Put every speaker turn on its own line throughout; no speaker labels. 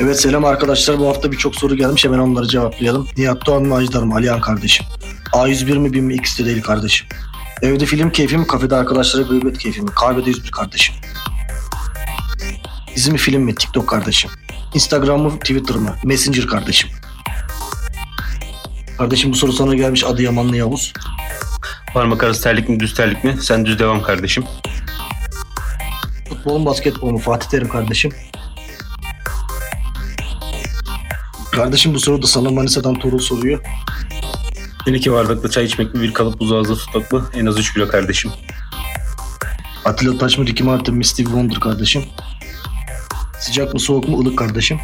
Evet selam arkadaşlar. Bu hafta birçok soru gelmiş. Hemen onları cevaplayalım. Nihat Doğan mı Ajdar mı? Alihan kardeşim. A101 mi bin mi? İkisi de değil kardeşim. Evde film keyfi mi? Kafede arkadaşlara gıybet keyfi mi? Kahvede 101 kardeşim. Dizi mi film mi? TikTok kardeşim. Instagram mı? Twitter mı? Messenger kardeşim. Kardeşim bu soru sana gelmiş Adıyamanlı Yavuz.
Parmak arası terlik mi düz terlik mi? Sen düz devam kardeşim.
Futbol mu basketbol mu? Fatih Terim kardeşim. Kardeşim bu soru da sana Manisa'dan Tuğrul soruyor.
Bir iki bardakla çay içmek mi? Bir kalıp buzlu ağızda tutmak mı? En az 3 kilo kardeşim.
Atilla Taş mı Ricky Martin mi Steve Wonder kardeşim? Sıcak mı soğuk mu ılık kardeşim?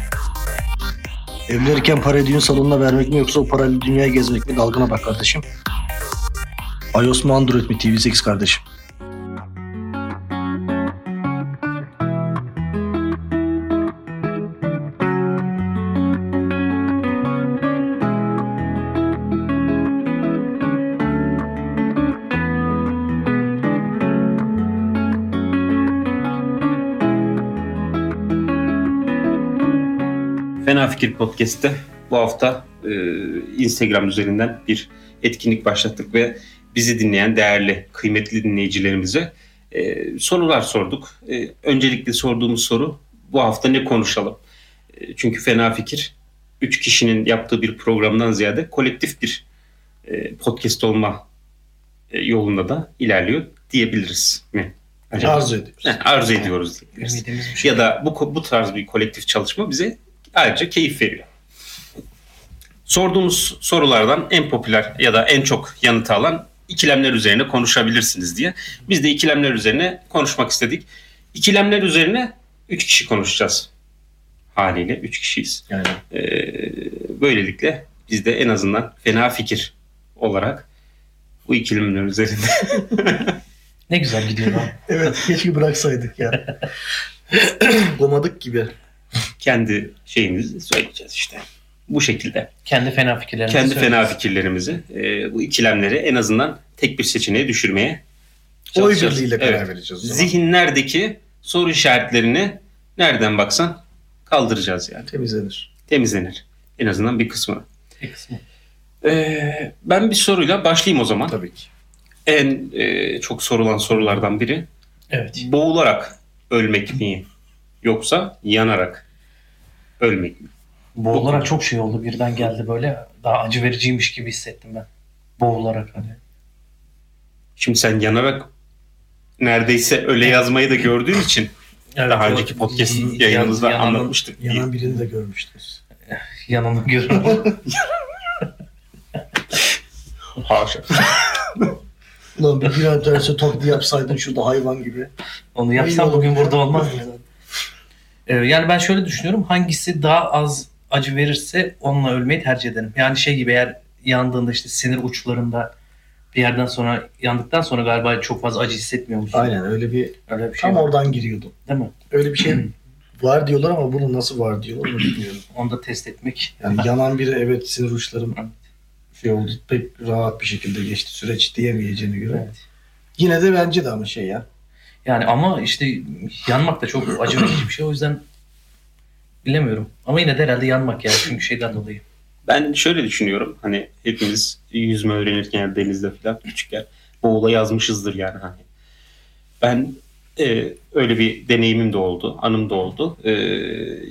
Evlenirken parayı düğün salonuna vermek mi yoksa o parayla dünyayı gezmek mi dalgına bak kardeşim. iOS mu Android mi TV8 kardeşim.
Fena Fikir Podcast'te bu hafta e, Instagram üzerinden bir etkinlik başlattık ve bizi dinleyen değerli, kıymetli dinleyicilerimize e, sorular sorduk. E, öncelikle sorduğumuz soru bu hafta ne konuşalım? E, çünkü Fena Fikir 3 kişinin yaptığı bir programdan ziyade kolektif bir e, podcast olma e, yolunda da ilerliyor diyebiliriz mi? Acaba?
Arzu ediyoruz.
Heh, arzu ediyoruz diyebiliriz
Ümidimiz bir şey.
ya da bu ko- bu tarz bir kolektif çalışma bize ayrıca keyif veriyor. Sorduğumuz sorulardan en popüler ya da en çok yanıt alan ikilemler üzerine konuşabilirsiniz diye. Biz de ikilemler üzerine konuşmak istedik. İkilemler üzerine 3 kişi konuşacağız. Haliyle 3 kişiyiz.
Yani
Ee, böylelikle biz de en azından fena fikir olarak bu ikilemler üzerinde
Ne güzel gidiyor lan.
evet keşke bıraksaydık ya. Gomadık gibi.
kendi şeyimizi söyleyeceğiz işte. Bu şekilde.
Kendi fena fikirlerini
kendi
söyle.
fena fikirlerimizi, e, bu ikilemleri en azından tek bir seçeneğe düşürmeye
Oy
çalışacağız.
birliğiyle
Evet.
karar vereceğiz. o zaman.
Zihinlerdeki soru işaretlerini nereden baksan kaldıracağız yani.
temizlenir.
Temizlenir. En azından bir kısmı.
Bir kısmı.
E, ben bir soruyla başlayayım o zaman.
Ee, Tabii ki.
En e, çok sorulan sorulardan biri.
Evet.
Boğularak ölmek mi? Yoksa yanarak ölmek mi?
Boğularak çok şey oldu birden geldi böyle. Daha acı vericiymiş gibi hissettim ben. Boğularak hani.
Şimdi sen yanarak neredeyse öle yazmayı da gördüğün için Daha önceki podcast yayınımızda
yanan-
anlatmıştık.
Yanan birini de görmüştünüz.
Yanını görüyorum.
Haşa.
Ulan bir an tersi top diye yapsaydın şurada hayvan gibi.
Onu yapsam bugün burada olmazdı. Ee, yani ben şöyle düşünüyorum. Hangisi daha az acı verirse onunla ölmeyi tercih ederim. Yani şey gibi eğer yandığında işte sinir uçlarında bir yerden sonra yandıktan sonra galiba çok fazla acı hissetmiyor musun?
Aynen öyle bir
Öyle bir şey
tam
var,
oradan giriyordum.
değil mi?
Öyle bir şey var diyorlar ama bunu nasıl var diyorlar onu bilmiyorum.
Onu da test etmek.
Yani yanan biri evet sinir uçlarım şey oldu pek rahat bir şekilde geçti süreç diyemeyeceğine göre.
Evet.
Yine de bence de ama şey ya.
Yani ama işte yanmak da çok acı verici bir şey. O yüzden bilemiyorum. Ama yine de herhalde yanmak yani. Çünkü şeyden dolayı.
Ben şöyle düşünüyorum. Hani hepimiz yüzme öğrenirken denizde falan küçükken boğula yazmışızdır yani. Hani. Ben e, öyle bir deneyimim de oldu. Anım da oldu. E,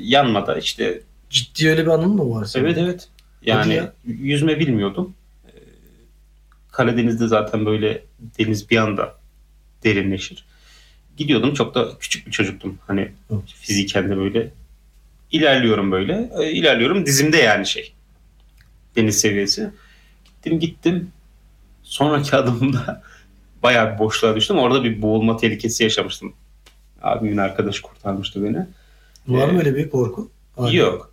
yanmada işte
Ciddi öyle bir anın mı var senin?
evet evet.
Hadi
Yani
ya.
yüzme bilmiyordum. E, Karadeniz'de zaten böyle deniz bir anda derinleşir. Gidiyordum çok da küçük bir çocuktum. Hani
Hı.
fiziken de böyle ilerliyorum böyle. E, ilerliyorum dizimde yani şey. Deniz seviyesi. Gittim gittim. Sonraki adımda bayağı bir boşluğa düştüm. Orada bir boğulma tehlikesi yaşamıştım. Abimin arkadaşı kurtarmıştı beni.
Var
Ee,
mı öyle bir korku? Hayır.
Yok.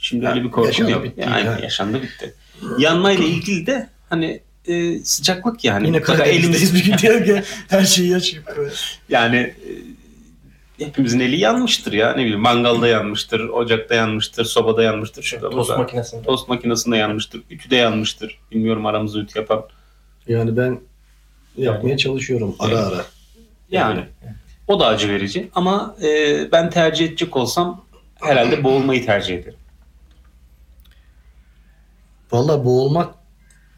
Şimdi
Ha,
öyle bir korkum
yaşandı
yok.
bitti,
yani
yani.
yaşandı bitti. Yanmayla ilgili de hani e, sıcaklık yani.
Yine
Mutlaka
Karadeniz'deyiz
elimiz
bir gün diyelim ki her şeyi yaşayıp böyle.
yani e, hepimizin eli yanmıştır ya. Ne bileyim mangalda yanmıştır, ocakta yanmıştır, sobada yanmıştır.
Şey
Şurada,
Tost
burada.
makinesinde.
Tost makinesinde yanmıştır, ütüde yanmıştır. Bilmiyorum aramızda ütü yapan.
Yani ben yapmaya çalışıyorum ara ara.
Yani o da acı verici ama e, ben tercih edecek olsam herhalde boğulmayı tercih ederim.
Valla boğulmak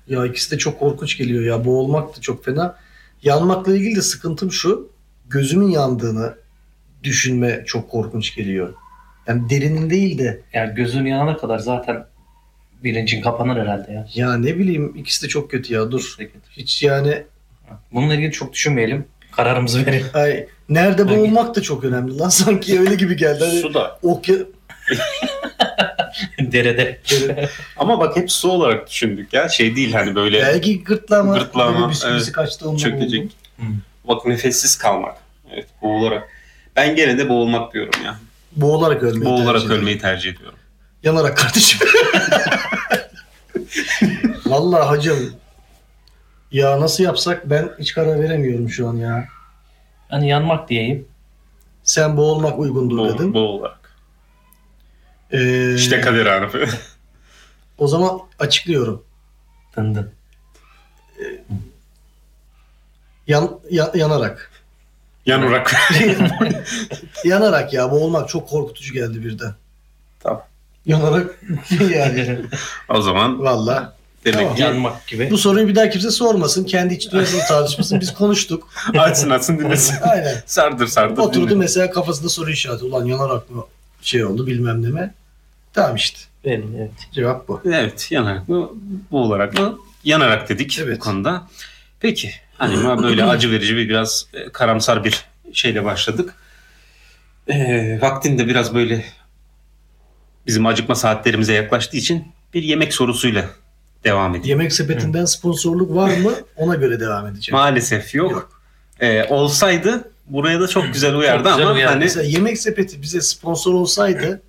ya ikisi de çok korkunç geliyor ya. Boğulmak da çok fena. Yanmakla ilgili de sıkıntım şu. Gözümün yandığını düşünme çok korkunç geliyor. Yani derinin değil de
Yani gözün yanana kadar zaten bilincin kapanır herhalde ya.
ya ne bileyim ikisi de çok kötü ya dur. Hiç yani
Bununla ilgili çok düşünmeyelim. Kararımızı verelim.
ay, nerede boğulmak da çok önemli lan sanki öyle gibi geldi. Hani
Su da.
okya-
Derede.
Ama bak hep su olarak düşündük ya. Şey değil hani böyle
belki gırtlağıma, hani
Gırtlağıma,
böyle büsbüsü
evet.
kaçtığımda
çökecek.
boğuldum.
Hı.
Bak nefessiz kalmak. Evet boğularak. Ben gene de boğulmak diyorum ya.
Boğularak ölmeyi
Boğularak
tercih ederim.
ölmeyi tercih ediyorum.
Yanarak kardeşim. Vallahi hocam. Ya nasıl yapsak ben hiç karar veremiyorum şu an ya.
Hani yanmak diyeyim.
Sen boğulmak uygundur
Boğul,
dedin.
boğularak.
Ee,
İşte kader anı.
o zaman açıklıyorum.
Dın dın.
Yan, ya- yanarak.
Yanarak.
Yanarak ya boğulmak çok korkutucu geldi birden.
Tamam.
Yanarak yani.
o zaman
Valla.
demek
Tamam.
ki
Yanmak gibi.
Bu soruyu bir daha kimse sormasın. Kendi iç dünyasını tartışmasın. Biz konuştuk.
açsın açsın dinlesin.
Aynen.
Sardır sardır.
Oturdu
dinle.
mesela kafasında soru işareti. Ulan yanarak mı şey oldu bilmem ne mi? Tamam işte.
Benim evet.
Cevap bu.
Evet yanarak mı boğularak mı? Yanarak dedik bu
Evet.
konuda. Peki hani ma- böyle acı verici bir biraz e, karamsar bir şeyle başladık. Ee, vaktinde biraz böyle bizim acıkma saatlerimize yaklaştığı için bir yemek sorusuyla devam edelim.
Yemek sepetinden sponsorluk var mı? Ona göre devam edeceğim.
Maalesef yok. Ee, olsaydı buraya da çok güzel uyardı
Çok güzel
ama
uyardı.
hani
Mesela yemek sepeti bize sponsor olsaydı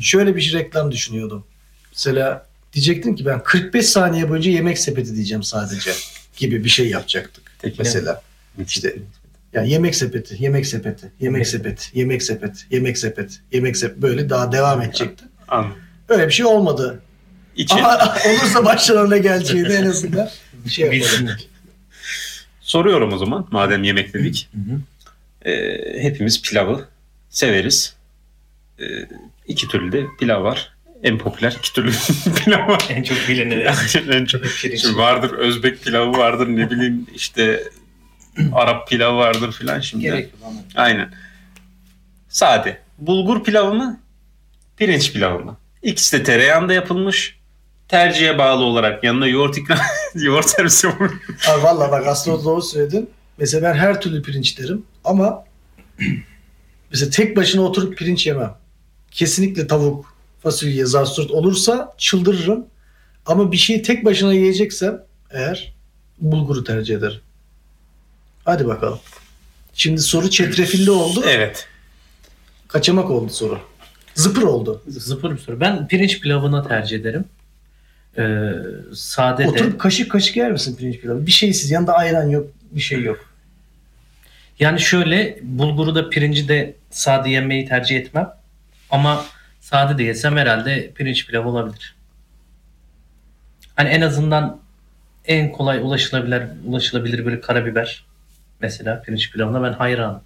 şöyle bir şey reklam düşünüyordum. Mesela diyecektim ki ben 45 saniye boyunca yemek sepeti diyeceğim sadece gibi bir şey yapacaktık.
Peki.
Mesela işte yani yemek sepeti, yemek sepeti, yemek sepeti, yemek sepeti, yemek sepeti, yemek sepeti böyle daha devam edecekti.
An-
Öyle bir şey olmadı.
için
Ama olursa başlarına geleceğini en azından şey yapalım.
Bilsinler.
soruyorum o zaman madem yemek dedik.
Hı hı.
Ee, hepimiz pilavı severiz. Ee, iki türlü de pilav var. En popüler iki türlü pilav var.
En çok bilineni.
Yani en çok
Pirinç.
şimdi vardır Özbek pilavı vardır ne bileyim işte Arap pilavı vardır filan şimdi.
Gerek yok ama.
Aynen. Sade. Bulgur pilavı mı? Pirinç pilavı mı? İkisi de tereyağında yapılmış. Tercihe bağlı olarak yanına yoğurt ikram yoğurt servis yapılmış.
Abi valla bak aslında doğru söyledin. Mesela ben her türlü pirinç derim ama mesela tek başına oturup pirinç yemem. Kesinlikle tavuk, fasulye, zarsurt olursa çıldırırım. Ama bir şeyi tek başına yiyeceksem eğer bulguru tercih ederim. Hadi bakalım. Şimdi soru çetrefilli oldu.
Evet.
Kaçamak oldu soru. Zıpır oldu.
Zıpır bir soru. Ben pirinç pilavını tercih ederim. Ee, sade de.
Oturup kaşık kaşık yer misin pirinç pilavı? Bir şeysiz yanında ayran yok, bir şey yok.
Yani şöyle bulguru da pirinci de sade yemeyi tercih etmem. Ama sade de yesem herhalde pirinç pilav olabilir. Hani en azından en kolay ulaşılabilir, ulaşılabilir böyle karabiber. Mesela pirinç pilavına ben hayranım.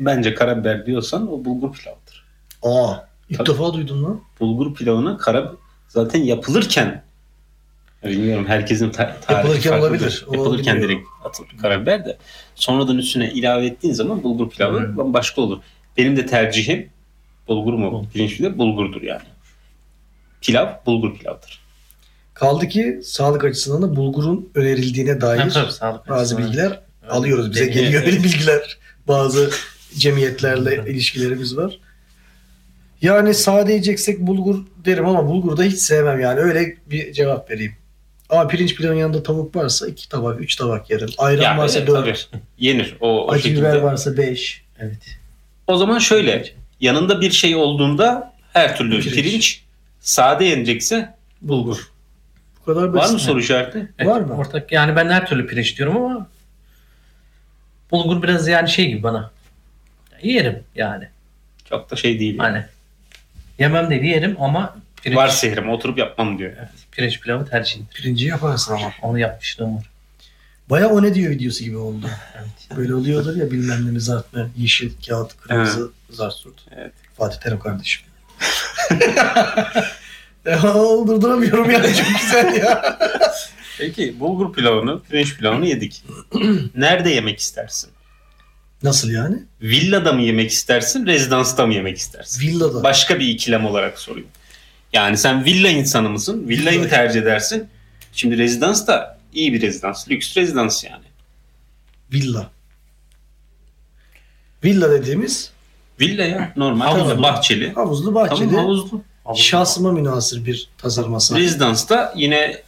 Bence karabiber diyorsan o bulgur pilavıdır.
Aa, ilk
Tabii.
defa duydun lan.
bulgur pilavına karab zaten yapılırken Ya bilmiyorum herkesin ta- tarifi
Yapılırken
farklıdır.
olabilir. O
Yapılırken
bilmiyorum.
direkt atılır karabiber de sonradan üstüne ilave ettiğin zaman bulgur pilavı
Hmm.
Hı.
bambaşka olur. Benim de tercihim bulgur mu
Bulgur.
pirinç pilavı bulgurdur yani. Pilav bulgur pilavıdır.
Kaldı ki sağlık açısından da bulgurun önerildiğine
Tabii,
dair
tabii, sağlık
bazı
açısından.
bilgiler alıyoruz. Bize
Denge-
geliyor öyle bilgiler. Bazı cemiyetlerle ilişkilerimiz var. Yani sade yiyeceksek bulgur derim ama bulgur da hiç sevmem yani. Öyle bir cevap vereyim. Ama pirinç pilavın yanında tavuk varsa iki tabak, üç tabak yerim. Ayran
Yani,
varsa
e,
dört,
tabii, yenir o, o
acı biber
şekilde.
varsa beş.
Evet.
O zaman şöyle yanında bir şey olduğunda her türlü
Pirinç.
pirinç, sade yenecekse bulgur.
Bu kadar basit.
Var mı soru işareti?
Evet,
Var mı?
Ortak yani ben her türlü pirinç diyorum ama bulgur biraz yani şey gibi bana. Yerim yani.
Çok da şey değil.
Hani yemem değil yerim ama pirinç,
Var sehrim oturup yapmam diyor.
pirinç pilavı tercihim.
Pirinci yaparsın ama.
Onu yapmışlığım var.
Baya o ne diyor videosu gibi oldu. Böyle oluyorlar ya bilmem ne mi, zart ne yeşil kağıt kırmızı zart surt.
Evet.
Fatih Terim kardeşim. Aa, Durduramıyorum yani çok güzel ya.
Peki bulgur pilavını, pirinç pilavını yedik. Nerede yemek istersin?
Nasıl yani?
Villada mı yemek istersin, rezidansta mı yemek istersin?
Villada.
Başka bir ikilem olarak soruyorum. Yani sen villa insanı mısın? Villayı mı
Villa.
tercih edersin? Şimdi rezidans da iyi bir rezidans. Lüks rezidans yani.
Villa. Villa dediğimiz
Villa ya normal.
Havuzlu.
Tabii, bahçeli.
havuzlu bahçede
Tamam havuzlu.
şahsıma münasır bir tasarım aslında.
Rezidansta yine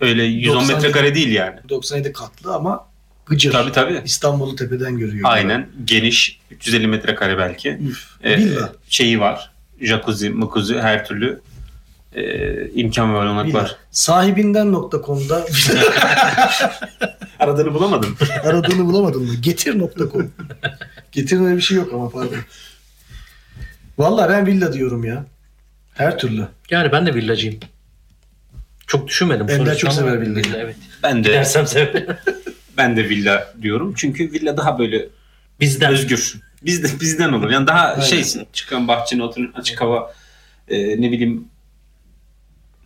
öyle 110
90
metrekare değil yani.
97 katlı ama gıcır.
Tabii tabii.
İstanbul'u tepeden görüyor.
Aynen. Geniş. 350 metrekare belki. Ee,
Villa.
Şeyi var. Jacuzzi, mukuzi her türlü e, imkan ve olanak
Villa.
var.
Sahibinden.com'da
Aradığını bulamadım.
aradığını bulamadın mı? Getir.com. Getir'in öyle bir şey yok ama pardon. Vallahi ben villa diyorum ya. Her türlü.
Yani ben de villacıyım. Çok düşünmedim. bu
Ender
soruyu
çok
ama
sever villayı.
villa, Evet.
ben de
Dersem severim.
ben de villa diyorum. Çünkü villa daha böyle
Bizden.
özgür. Biz de bizden olur. Yani daha
Aynen.
şeysin. Çıkan bahçene oturun açık hava e, ne bileyim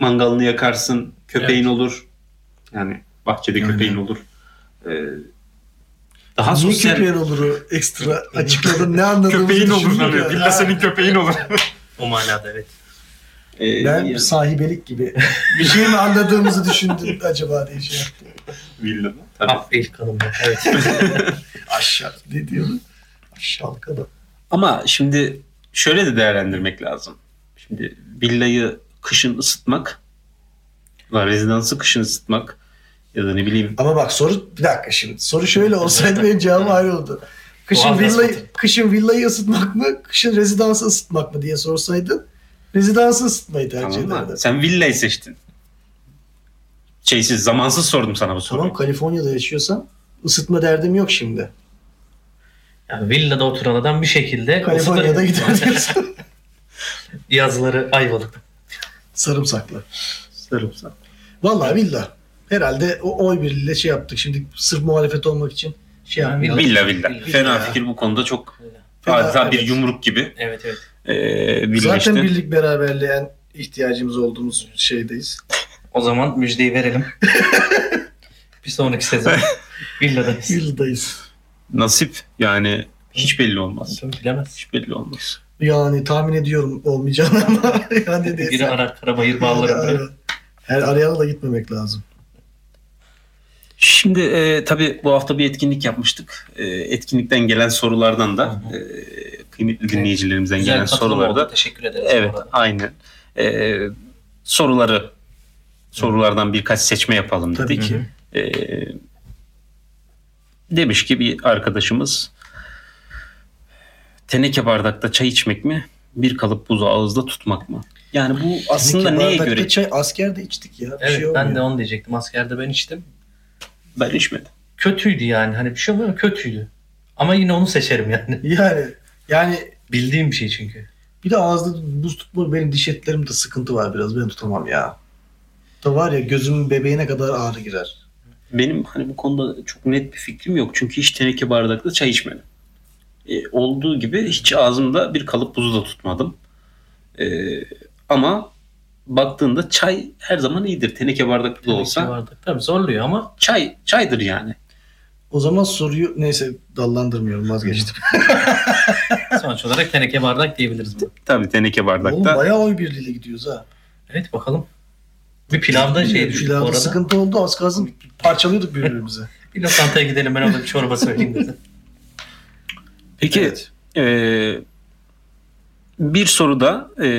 mangalını yakarsın. Köpeğin olur. Yani bahçede
Aynen.
köpeğin olur. E, daha
Niye
sosyal
köpeğin oluru ekstra açıkladın? Ne anladığımızı düşünmüyorum ya.
köpeğin olur.
O manada evet.
Ee,
Ben sahibelik gibi. bir şey mi anladığımızı düşündüm acaba diye şey yaptım.
villa. Tabii.
Hafif Ah, ilk hanımla. Evet.
Aşağı ne diyorum? Aşağı kadar.
Ama şimdi şöyle de değerlendirmek lazım. Şimdi villayı kışın ısıtmak, lan rezidansı kışın ısıtmak ya da ne bileyim
Ama bak soru bir dakika şimdi. Soru şöyle olsaydı benim cevabım ayrı oldu. Kışın
Doğal gaz
villayı,
fatih.
kışın villayı ısıtmak mı, kışın rezidansı ısıtmak mı diye sorsaydın rezidansı ısıtmayı tercih
tamam
ederdim.
mı? Sen villayı seçtin. Şeysiz, zamansız sordum sana bu soruyu.
Tamam Kaliforniya'da yaşıyorsan ısıtma derdim yok şimdi.
Yani villada oturan adam bir şekilde
Kaliforniya'da
ısıtır.
gider diyorsun.
Yazları Ayvalık.
Sarımsaklı. Vallahi villa. Herhalde o oy birliğiyle şey yaptık. Şimdi sırf muhalefet olmak için şey
Yani
yapmayalım.
Villa villa.
Villa.
Fena fikir bu konuda çok
Fena,
adeta bir
evet.
yumruk gibi.
Evet evet.
Ee, villa
Zaten
işte.
birlik beraberliğe en ihtiyacımız olduğumuz şeydeyiz.
O zaman müjdeyi verelim. bir sonraki sezon villadayız.
Villadayız.
Nasip yani hiç belli olmaz.
Tabii bilemez.
Hiç belli olmaz.
Yani tahmin ediyorum olmayacağını ama yani
Biri
neyse.
arar Karabayır bağlarında.
Her arayana da gitmemek lazım.
Şimdi e, tabii bu hafta bir etkinlik yapmıştık. E, etkinlikten gelen sorulardan da
Hı
e, kıymetli dinleyicilerimizden
Güzel
gelen
katılım
sorularda
oldu. Teşekkür ederiz.
evet aynen E, soruları sorulardan birkaç seçme yapalım
Tabii
dedik.
ki.
E, demiş ki bir arkadaşımız teneke bardakta çay içmek mi? Bir kalıp buzu ağızda tutmak mı? Yani bu aslında
Teneke
neye
bardakta
göre?
Çay, askerde içtik ya. Bir
Evet
şey
ben de
olmuyor.
onu diyecektim. Askerde ben içtim.
Ben içmedim.
Kötüydü yani. Hani bir şey olmuyor ama kötüydü. Ama yine onu seçerim yani.
Yani, yani
Bildiğim bir şey çünkü.
bir de ağızda buz tutma benim diş etlerimde sıkıntı var biraz. Ben tutamam ya. Da var ya gözümün bebeğine kadar ağrı girer.
Benim hani bu konuda çok net bir fikrim yok. Çünkü hiç teneke bardakta çay içmedim. E, olduğu gibi hiç ağzımda bir kalıp buzu da tutmadım. E, ama baktığında çay her zaman iyidir. Teneke bardakta da olsa
Vardı. Tabii zorluyor ama
çay çaydır yani.
O zaman soruyu neyse dallandırmıyorum vazgeçtim.
sonuç olarak teneke bardak diyebiliriz. bunu.
Tabii teneke
Oğlum
bardakta.
bayağı oy birliğiyle gidiyoruz ha.
Evet bakalım. Bir pilavda şey düştük bu
Pilavda
arada.
sıkıntı oldu az kalsın parçalıyorduk birbirimizi.
Bir lokantaya gidelim ben orada bir çorba söyleyeyim dedim.
Peki
Evet.
e, bir soru da e,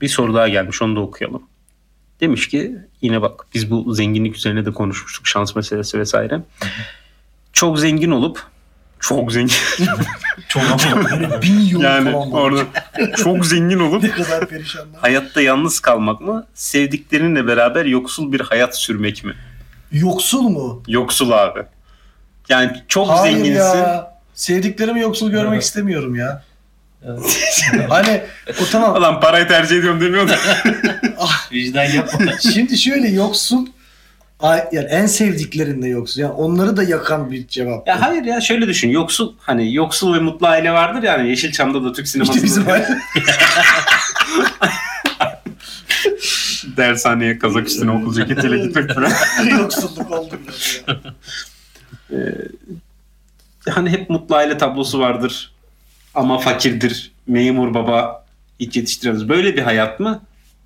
bir soru daha gelmiş. Onu da okuyalım. Demiş ki yine bak biz bu zenginlik üzerine de konuşmuştuk. Şans meselesi vesaire. Çok zengin olup çok zengin
Çorba
Böyle bin yıl
Yani
falan var.
orada çok zengin olup
Ne kadar perişanlar.
hayatta yalnız kalmak mı? Sevdiklerinle beraber yoksul bir hayat sürmek mi?
Yoksul mu?
Yoksul abi. Yani çok
Hayır
zenginsin.
ya. Sevdiklerimi yoksul görmek
Evet.
istemiyorum ya. Hani o tamam.
Lan parayı tercih ediyorum demiyor da.
Vicdan yapma.
Şimdi şöyle yoksul ay- yani en sevdiklerinle yoksul. Yani onları da yakan bir cevap.
ya hayır ya şöyle düşün. hani Yoksul hani yoksul ve mutlu aile vardır yani Yeşilçam'da da Türk sinemasında.
işte bizim aile.
dershaneye kazak üstüne okul ceketiyle gitmek falan.
Yoksulluk oldu biraz ya.
hani hep mutlu aile tablosu vardır ama fakirdir. Memur baba hiç yetiştiremez. Böyle bir hayat mı?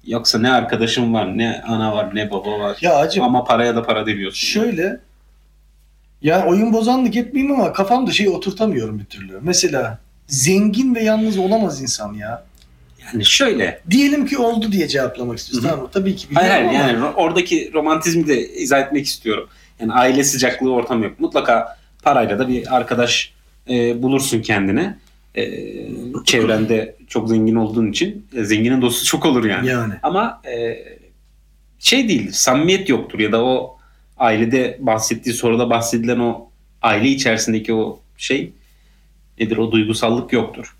Yoksa ne arkadaşım var, ne ana var, ne baba var.
Ya acı
Ama paraya da para demiyorsun.
Şöyle ya oyun bozanlık etmeyeyim ama kafamda şeyi oturtamıyorum bir türlü. Mesela zengin ve yalnız olamaz insan ya.
Yani şöyle.
Diyelim ki oldu diye cevaplamak istiyorsun.
Hı hı.
Tamam mı? Tabii ki
Hayır
biliyorum
hayır
ama
yani ro- oradaki romantizmi de izah etmek istiyorum. Yani aile sıcaklığı ortam yok. Mutlaka parayla da bir arkadaş e, bulursun kendine. E, çevrende çok zengin olduğun için e, zenginin dostu çok olur yani.
yani.
Ama e, şey değil, samimiyet yoktur ya da o ailede bahsettiği soruda bahsedilen o aile içerisindeki o şey nedir o duygusallık yoktur.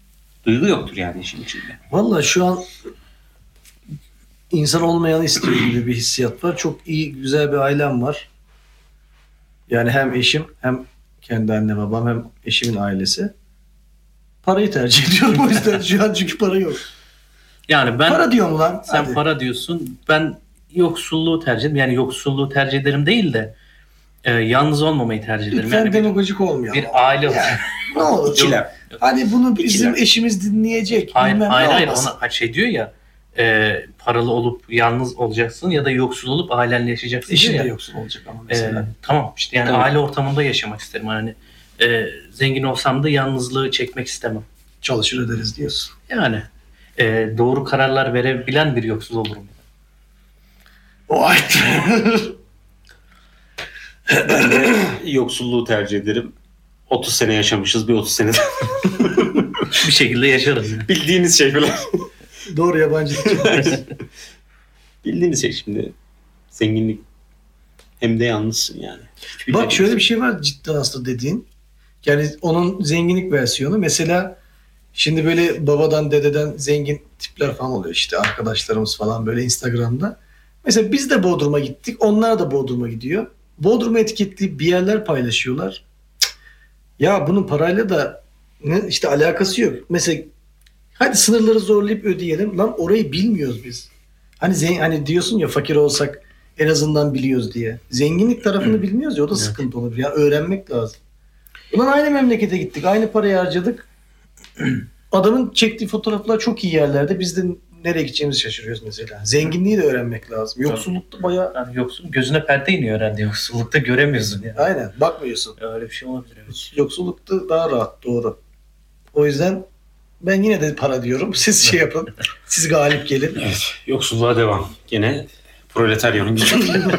Duygu yoktur yani işin içinde.
Valla şu an insan olmayanı istiyor gibi bir hissiyat var. Çok iyi, güzel bir ailem var. Yani hem eşim hem kendi anne babam hem eşimin ailesi. Parayı tercih ediyorum o yüzden şu an çünkü para yok.
Yani ben
Para diyorum lan.
sen
Hadi.
para diyorsun. Ben yoksulluğu tercih ederim. Yani yoksulluğu tercih ederim değil de e, yalnız olmamayı tercih ederim.
Lütfen
Yani bir,
demagojik olmayalım.
bir aile
Yani,
olsun.
ne olur.
İkiler.
Hani bunu bizim eşimiz dinleyecek.
Hayır
bilmem ne
hayır, hayır
olmasın.
ona ha, şey diyor ya e, paralı olup yalnız olacaksın ya da yoksul olup ailenle yaşayacaksın
Eşim de
diyor ya.
yoksul olacak ama
E,
mesela.
tamam işte yani
Tamam.
aile ortamında yaşamak isterim. Yani e, zengin olsam da yalnızlığı çekmek istemem.
Çalışır öderiz diyorsun.
Yani e, doğru kararlar verebilen bir yoksul olurum.
O ay.
Ben de yoksulluğu tercih ederim. 30 sene yaşamışız bir 30 sene de-
bir şekilde yaşarız.
bildiğiniz şey falan.
Doğru yabancı.
bildiğiniz şey şimdi zenginlik hem de yalnızsın yani. Hiçbir
Bak
şey
şöyle
yok.
bir şey var cidden aslında dediğin. Yani onun zenginlik versiyonu. Mesela şimdi böyle babadan dededen zengin tipler falan oluyor işte arkadaşlarımız falan böyle Instagram'da. Mesela biz de Bodrum'a gittik. Onlar da Bodrum'a gidiyor. Bodrum'u etiketleyip bir yerler paylaşıyorlar. Cık. Ya bunun parayla da ne, işte alakası yok. Mesela hadi sınırları zorlayıp ödeyelim. Lan orayı bilmiyoruz biz. Hani zen- hani diyorsun ya fakir olsak en azından biliyoruz diye. Zenginlik tarafını bilmiyoruz ya o da
Evet.
sıkıntı olabilir. Yani öğrenmek lazım. Ulan aynı memlekete gittik. Aynı parayı harcadık. Adamın çektiği fotoğraflar çok iyi yerlerde. Biz de nereye gideceğimizi şaşırıyoruz mesela. Zenginliği de öğrenmek lazım. Yoksullukta bayağı
Yani yoksul gözüne perde iniyor herhalde yoksullukta göremiyorsun ya.
aynen bakmıyorsun.
Öyle bir şey olabilir. evet.
Yoksullukta daha rahat doğru. O yüzden ben yine de para diyorum. Siz şey yapın. Siz galip gelin. şey-
Yoksulluğa devam. Gene proletaryonun gücü.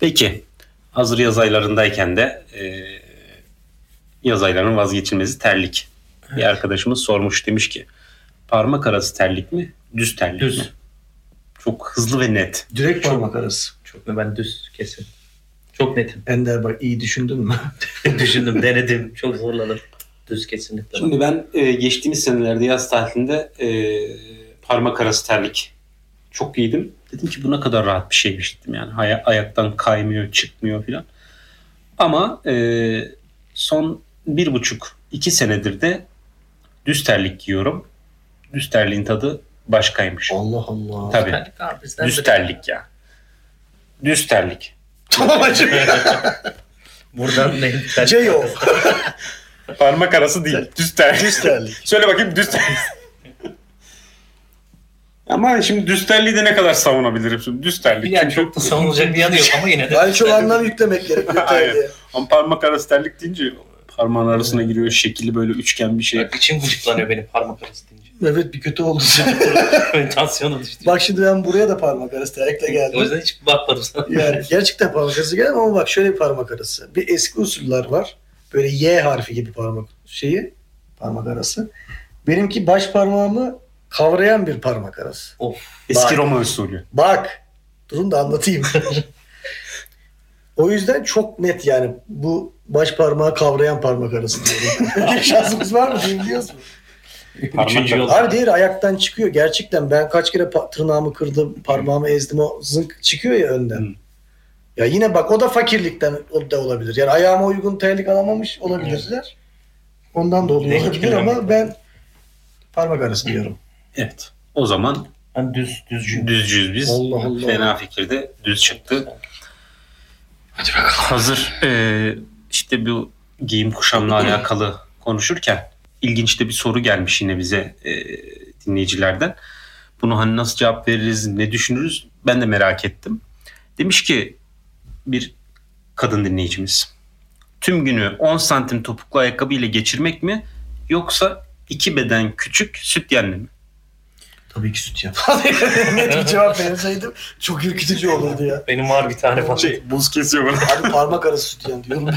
Peki. Hazır yaz aylarındayken de e, yaz aylarının vazgeçilmezi terlik. Bir arkadaşımız sormuş demiş ki parmak arası terlik mi düz terlik
Düz.
mi? Çok hızlı ve net.
Direkt parmak arası.
Çok mu ben düz kesin. Çok netim.
Ender bak iyi düşündün mü?
Düşündüm, denedim. Çok zorladım. Düz kesinlikle.
Şimdi ben e, geçtiğimiz senelerde yaz tatilinde e, parmak arası terlik çok giydim. Dedim ki bu ne kadar rahat bir şeymiş dedim yani. Hay- ayaktan kaymıyor, çıkmıyor filan. Ama e, son bir buçuk, iki senedir de düz terlik giyiyorum. Düz terliğin tadı başkaymış.
Allah Allah.
Tabii.
Terlik abi, bizden
Düz
de-
terlik ya. Düz terlik.
Tamam şey hacım.
Buradan ne?
Ceyo.
Parmak arası değil. Düz terlik.
Düz terlik.
Söyle bakayım düz terlik. Ama şimdi düz terliği de ne kadar savunabilirim şimdi? Düz terlik.
Yani çok da savunulacak bir yanı yok ama yine de.
Ben şu anlam yüklemek gerekiyor.
Aynen.
terliğe.
Ama parmak arası terlik deyince parmağın arasına giriyor şekilli böyle üçgen bir şey.
Bak, İçim gıcıklanıyor benim parmak arası deyince.
evet bir kötü oldu.
Benim Tansiyonum düştü.
bak şimdi ben buraya da parmak arası terlikle
O
geldim.
yüzden hiç bakmadım sana.
Yani gerçekten parmak arası geldim ama bak şöyle bir parmak arası. Bir eski usullar var. Böyle Y harfi gibi parmak şeyi. Parmak arası. Benimki baş parmağımı kavrayan bir parmak arası.
Eski Roma usulü.
Bak. Durun da anlatayım. o yüzden çok net yani bu baş parmağı kavrayan parmak arası diyorum. Böyle bir şansımız var mı diye biliyorsun.
Üçüncü yol.
Abi diğeri ayaktan çıkıyor. Gerçekten ben kaç kere pa- tırnağımı kırdım, parmağımı ezdim o zınk çıkıyor ya önden.
Hı.
Ya yine bak o da fakirlikten o da olabilir. Yani ayağıma uygun terlik alamamış olabilirler. Ondan da oluyor
Ne
olabilir ama
hikmet.
ben parmak arası diyorum.
Evet. O zaman
Ben düz düzcüyüm.
Düzcüyüz biz.
Allah Allah.
Fena fikirde düz çıktı. Hadi bakalım. Hazır e, işte bu giyim kuşamla alakalı konuşurken ilginç de bir soru gelmiş yine bize e, dinleyicilerden. Bunu hani nasıl cevap veririz, ne düşünürüz ben de merak ettim. Demiş ki bir kadın dinleyicimiz. Tüm günü 10 santim topuklu ayakkabı ile geçirmek mi yoksa iki beden küçük sütyenli mi?
Tabii ki süt ya.
Net bir cevap verseydim çok ürkütücü olurdu ya.
Benim var bir tane falan.
Şey, buz kesiyor bana.
Abi parmak arası süt yani diyorum.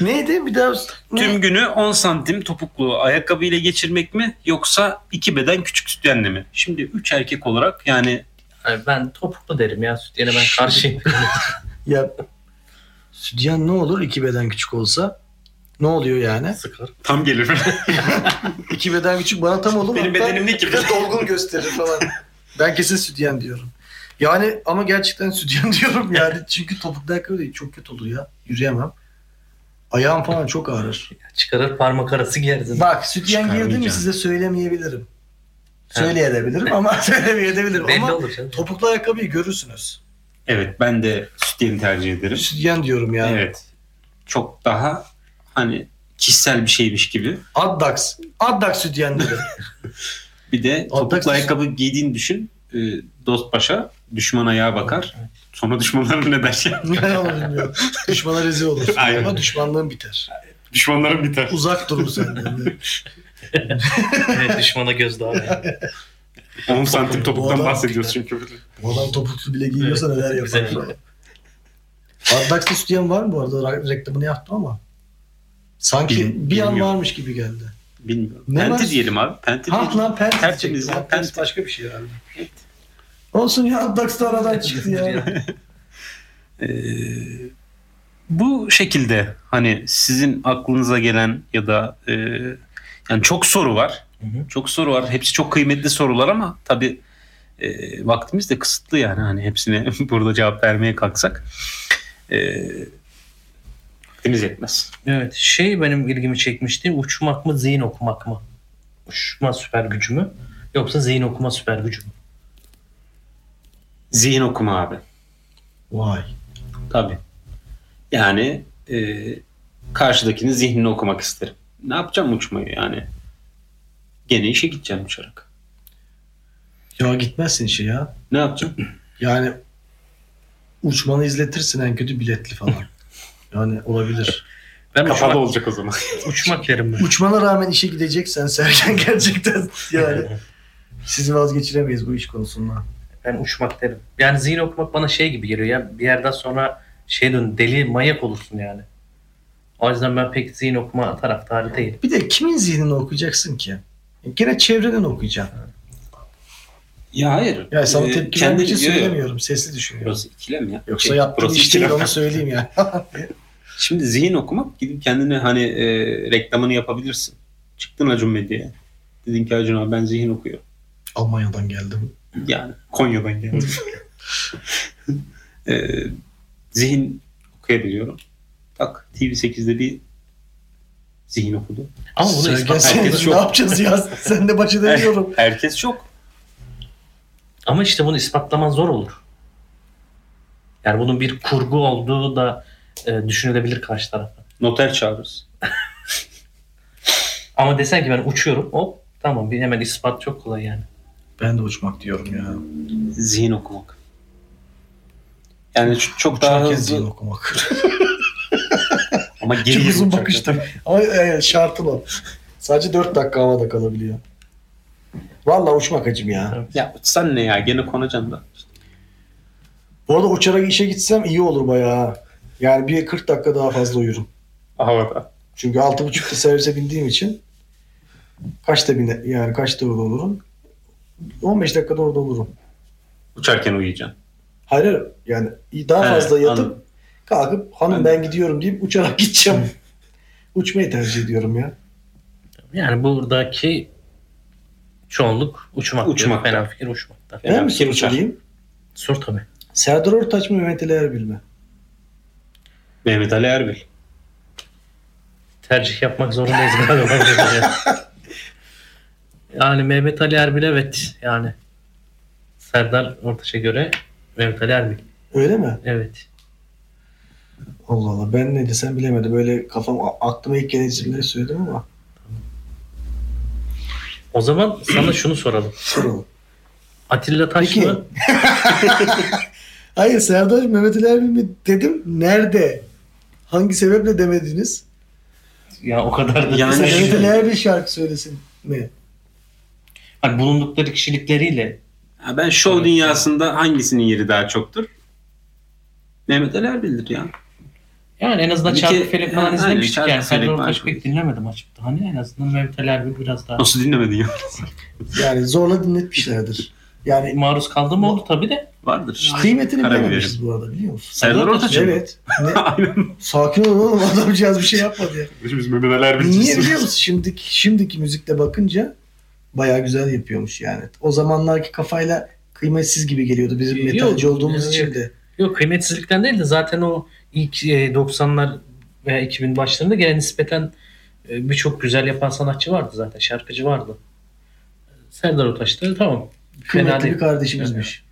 Neydi bir daha? Ne?
Tüm günü 10 santim topuklu ayakkabıyla geçirmek mi yoksa iki beden küçük sütyenle mi? Şimdi üç erkek olarak yani
Yani ben topuklu derim ya süt yine ben karşıyım.
Ya sütyen ne olur iki beden küçük olsa? Ne oluyor yani?
Sıkılır.
Tam gelir.
İki beden küçük bana tam olur.
Benim
Hatta
bedenim ne ki?
bir de dolgun gösterir falan. ben kesin sütyen diyorum. Yani ama gerçekten sütyen diyorum yani. Çünkü topuklu ayakkabı değil. Çok kötü olur ya. Yürüyemem. Ayağım falan çok ağrır.
Çıkarır parmak arası giyerdin.
Bak sütyen girdi mi
Çıkarmayacağım.
size söylemeyebilirim.
Ha.
Söyleyebilirim ama söylemeyebilirim.
Belli
ama
olur canım.
topuklu ayakkabıyı görürsünüz.
evet ben de sütyeni tercih ederim.
Sütyen diyorum yani.
Evet. Çok daha hani kişisel bir şeymiş gibi.
Addax. Addax sütyen dedi.
Bir de topuklu
Aldaksın.
ayakkabı giydiğini düşün. Ee, Dost paşa düşman ayağa bakar. Sonra düşmanların ne der?
ne olur bilmiyorum. Düşmana rezil olursun.
Aynen.
Ama düşmanlığın biter.
Düşmanlarım biter.
Uzak durur senden.
Evet, düşmana göz daha. Yani.
10 santim topuktan
Doğru.
bahsediyoruz çünkü.
Bu adam topuklu bile giyiyorsa neler
Güzel.
yapar. Addax'ta stüdyen var mı bu arada? Ra- Reklamını yaptım ama. Sanki
Bilmiyorum.
bir an
Bilmiyorum.
varmış gibi geldi.
Bilmiyorum.
Ne
penti
var?
diyelim abi. Penti
Ha
diyelim.
lan Pent
Tertemiz
diyecektim.
ya,
Addax
Pent.
başka bir şey herhalde. Olsun ya Addax'ta aradan çıktı ya.
Ee, bu şekilde hani sizin aklınıza gelen ya da e, yani çok soru var.
Hı hı.
Çok soru var. Hepsi çok kıymetli sorular ama tabii e, vaktimiz de kısıtlı yani. Hani hepsine burada cevap vermeye kalksak e, vaktimiz yetmez.
Evet şey benim ilgimi çekmişti. Uçmak mı zihin okumak mı? Uçma süper gücü mü? Yoksa zihin okuma süper gücü mü?
Zihin okuma abi.
Vay.
Tabii. Yani e, karşıdakinin zihnini okumak isterim. Ne yapacağım uçmayı yani? Gene işe gideceğim uçarak.
Ya gitmezsin şey ya.
Ne yapacağım?
Yani uçmanı izletirsin en kötü biletli falan. Yani olabilir.
Ben
Kapalı
uçmak,
olacak o zaman.
uçmak derim ben.
Uçmana rağmen işe gideceksen Sergen gerçekten yani sizi vazgeçiremeyiz bu iş konusunda.
Ben uçmak derim. Yani zihin okumak bana şey gibi geliyor ya. Bir yerden sonra şey dön deli manyak olursun yani. O yüzden ben pek zihin okuma taraftarı değilim.
Bir de kimin zihnini okuyacaksın ki? Gene çevrenin okuyacaksın.
Ya hayır.
Yani sana
Ee,
tepki vermek için
yo, yo.
söylemiyorum. Sesli düşünüyorum.
Burası ikilem ya.
Yoksa
Şey,
yaptığım
burası
iş değil
ikilem.
onu söyleyeyim yani.
Şimdi zihin okumak gidip kendine hani e, reklamını yapabilirsin. Çıktın Acun Medya'ya. Dedin ki Acun abi ben zihin okuyorum.
Almanya'dan geldim.
Yani Konya'dan geldim. E, zihin okuyabiliyorum. Bak TV8'de bir zihin okudu.
Ama bunu
Sergen
ispat-
sen
herkes
ne
yok.
yapacağız ya? Sen de baş edemiyorum.
Herkes çok.
Ama işte bunu ispatlaman zor olur. Yani bunun bir kurgu olduğu da e, düşünülebilir karşı tarafta.
Noter çağırırız.
Ama desen ki ben uçuyorum hop tamam bir hemen ispat çok kolay yani.
ben de uçmak diyorum ya.
Zihin okumak. Yani ç- çok daha
Uçarken zihin
hızlı
okumak.
ama
Çok
geriye
uzun
uçarken.
bakıştım. Ama e, şartım o. Sadece 4 dakika havada kalabiliyor. Vallahi uçmak acım ya.
Ya sen ne ya gene konacaksın da.
Bu arada uçarak işe gitsem iyi olur bayağı. ha. Yani bir 40 dakika daha fazla uyurum.
Havada.
Çünkü 6.30'da servise bindiğim için kaçta bine yani kaçta orada olurum? 15 dakikada orada olurum.
Uçarken uyuyacaksın.
Hayır hayır. yani daha
He,
fazla yatıp
anladım.
kalkıp hanım ben gidiyorum deyip uçarak gideceğim. Uçmayı tercih ediyorum ya.
Yani buradaki çoğunluk uçmak.
Uçmak.
Fena fikir uçmakta.
Ben mi
bir kere
soru
uçar.
sorayım?
Sor tabii.
Serdar Ortaç mı Mehmet Ali Erbil mi?
Mehmet Ali Erbil.
Tercih yapmak zorundayız galiba. Yani Mehmet Ali Erbil evet yani. Serdar Ortaç'a göre Mehmet Ali Erbil.
Öyle mi?
Evet.
Allah Allah. Ben ne desem bilemedim. Böyle kafam a- aklıma ilk gelen isimleri söyledim ama.
O zaman sana şunu soralım.
Soralım.
Atilla Taş
Peki.
mı?
Hayır Serdar Mehmet Ali Erbil mi dedim. Nerede? Hangi sebeple demediniz?
Ya o kadar da
Yani-
Mesela
şey-
Mehmet Ali Erbil şarkı söylesin mi?
Hani bulundukları kişilikleriyle
Ha, ben şov dünyasında hangisinin yeri daha çoktur? Mehmet Ali Erbil'dir ya.
yani en azından
Bir
Çarkı
ke-
Felek falan
Aynen,
izlemiştik
Çarkı
yani. Serdar
Felek
Ortaç
falan.
pek dinlemedim açıkçası. Hani en azından Mehmet Ali Erbil biraz daha
Nasıl dinlemedin ya?
Yani zorla dinletmişlerdir. Yani
maruz kaldığım oldu tabii de.
Vardır işte.
kıymetini
Karabiberim.
bilememişiz bu arada biliyor musun?
Serdar Ortaç mı?
Evet. Ne?
Aynen.
Sakin olun oğlum adamcağız bir şey yapmadı ya.
Biz Mehmet Ali
Niye biliyor musun? Şimdiki, şimdiki müzikte bakınca bayağı güzel yapıyormuş yani. O zamanlarki kafayla kıymetsiz gibi geliyordu bizim
Yok,
metalci olduğumuz
yani-
için de.
Yok kıymetsizlikten değil de zaten o ilk e, 90'lar veya 2000 başlarında gelen nispeten e, birçok güzel yapan sanatçı vardı zaten. Şarkıcı vardı. Serdar Ortaç da tamam. Fena
Kıymetli
değil.
bir kardeşimizmiş.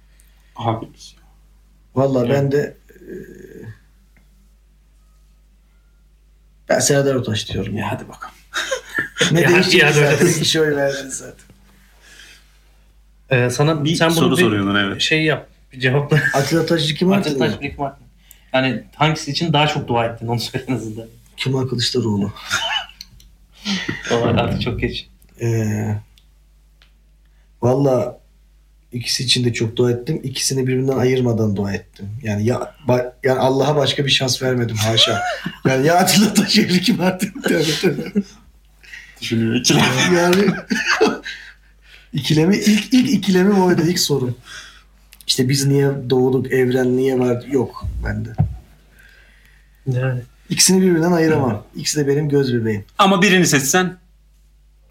Abi.
Valla ben de e, ben Serdar Ortaç diyorum
Ya
ya.
hadi bakalım.
Ne
Ya-
değişecek
ya
zaten.
böyle.
İki şey oy verdin zaten.
Ee, sana
Bir
sen bunu
soru
bir
soruyordun evet.
şey yap. Bir cevapla.
Atilla Taşçı kim
Atilla
artık?
Taş, Rick Martin. Yani hangisi için daha çok dua ettin onu söyle en azından.
Kemal Kılıçdaroğlu.
Vallahi artık çok geç.
Ee, Valla ikisi için de çok dua ettim. İkisini birbirinden ayırmadan dua ettim. Yani ya ba- yani Allah'a başka bir şans vermedim haşa. yani ya Atilla Taş evli kim artık? Tövbe tövbe.
Düşünüyor ikili.
yani ikilemi ilk ilk ikilemi oydu ilk sorum. İşte biz niye doğduk, evren niye var? Yok bende.
Yani.
İkisini birbirinden ayıramam. İkisi de benim göz bebeğim.
Ama birini seçsen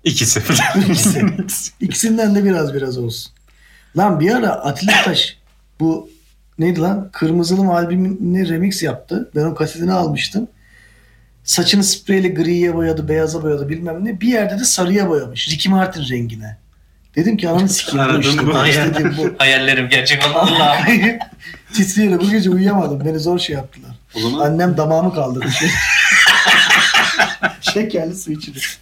ikisi.
İkisi. İkisinden de biraz biraz olsun. Lan bir ara Atilla Taş bu neydi lan? Kırmızılım albümünü remix yaptı. Ben o kasetini almıştım. Saçını spreyle griye boyadı, beyaza boyadı bilmem ne. Bir yerde de sarıya boyamış. Ricky Martin rengine. Dedim ki ananı sikeyim bu
Aradın
işte.
bu.
Bu istediğim bu.
Hayallerim gerçek oldu. Allah.
Titreyerek bu gece uyuyamadım. Beni zor şey yaptılar.
O zaman
Annem damağımı kaldırdı. Şekerli su içilir.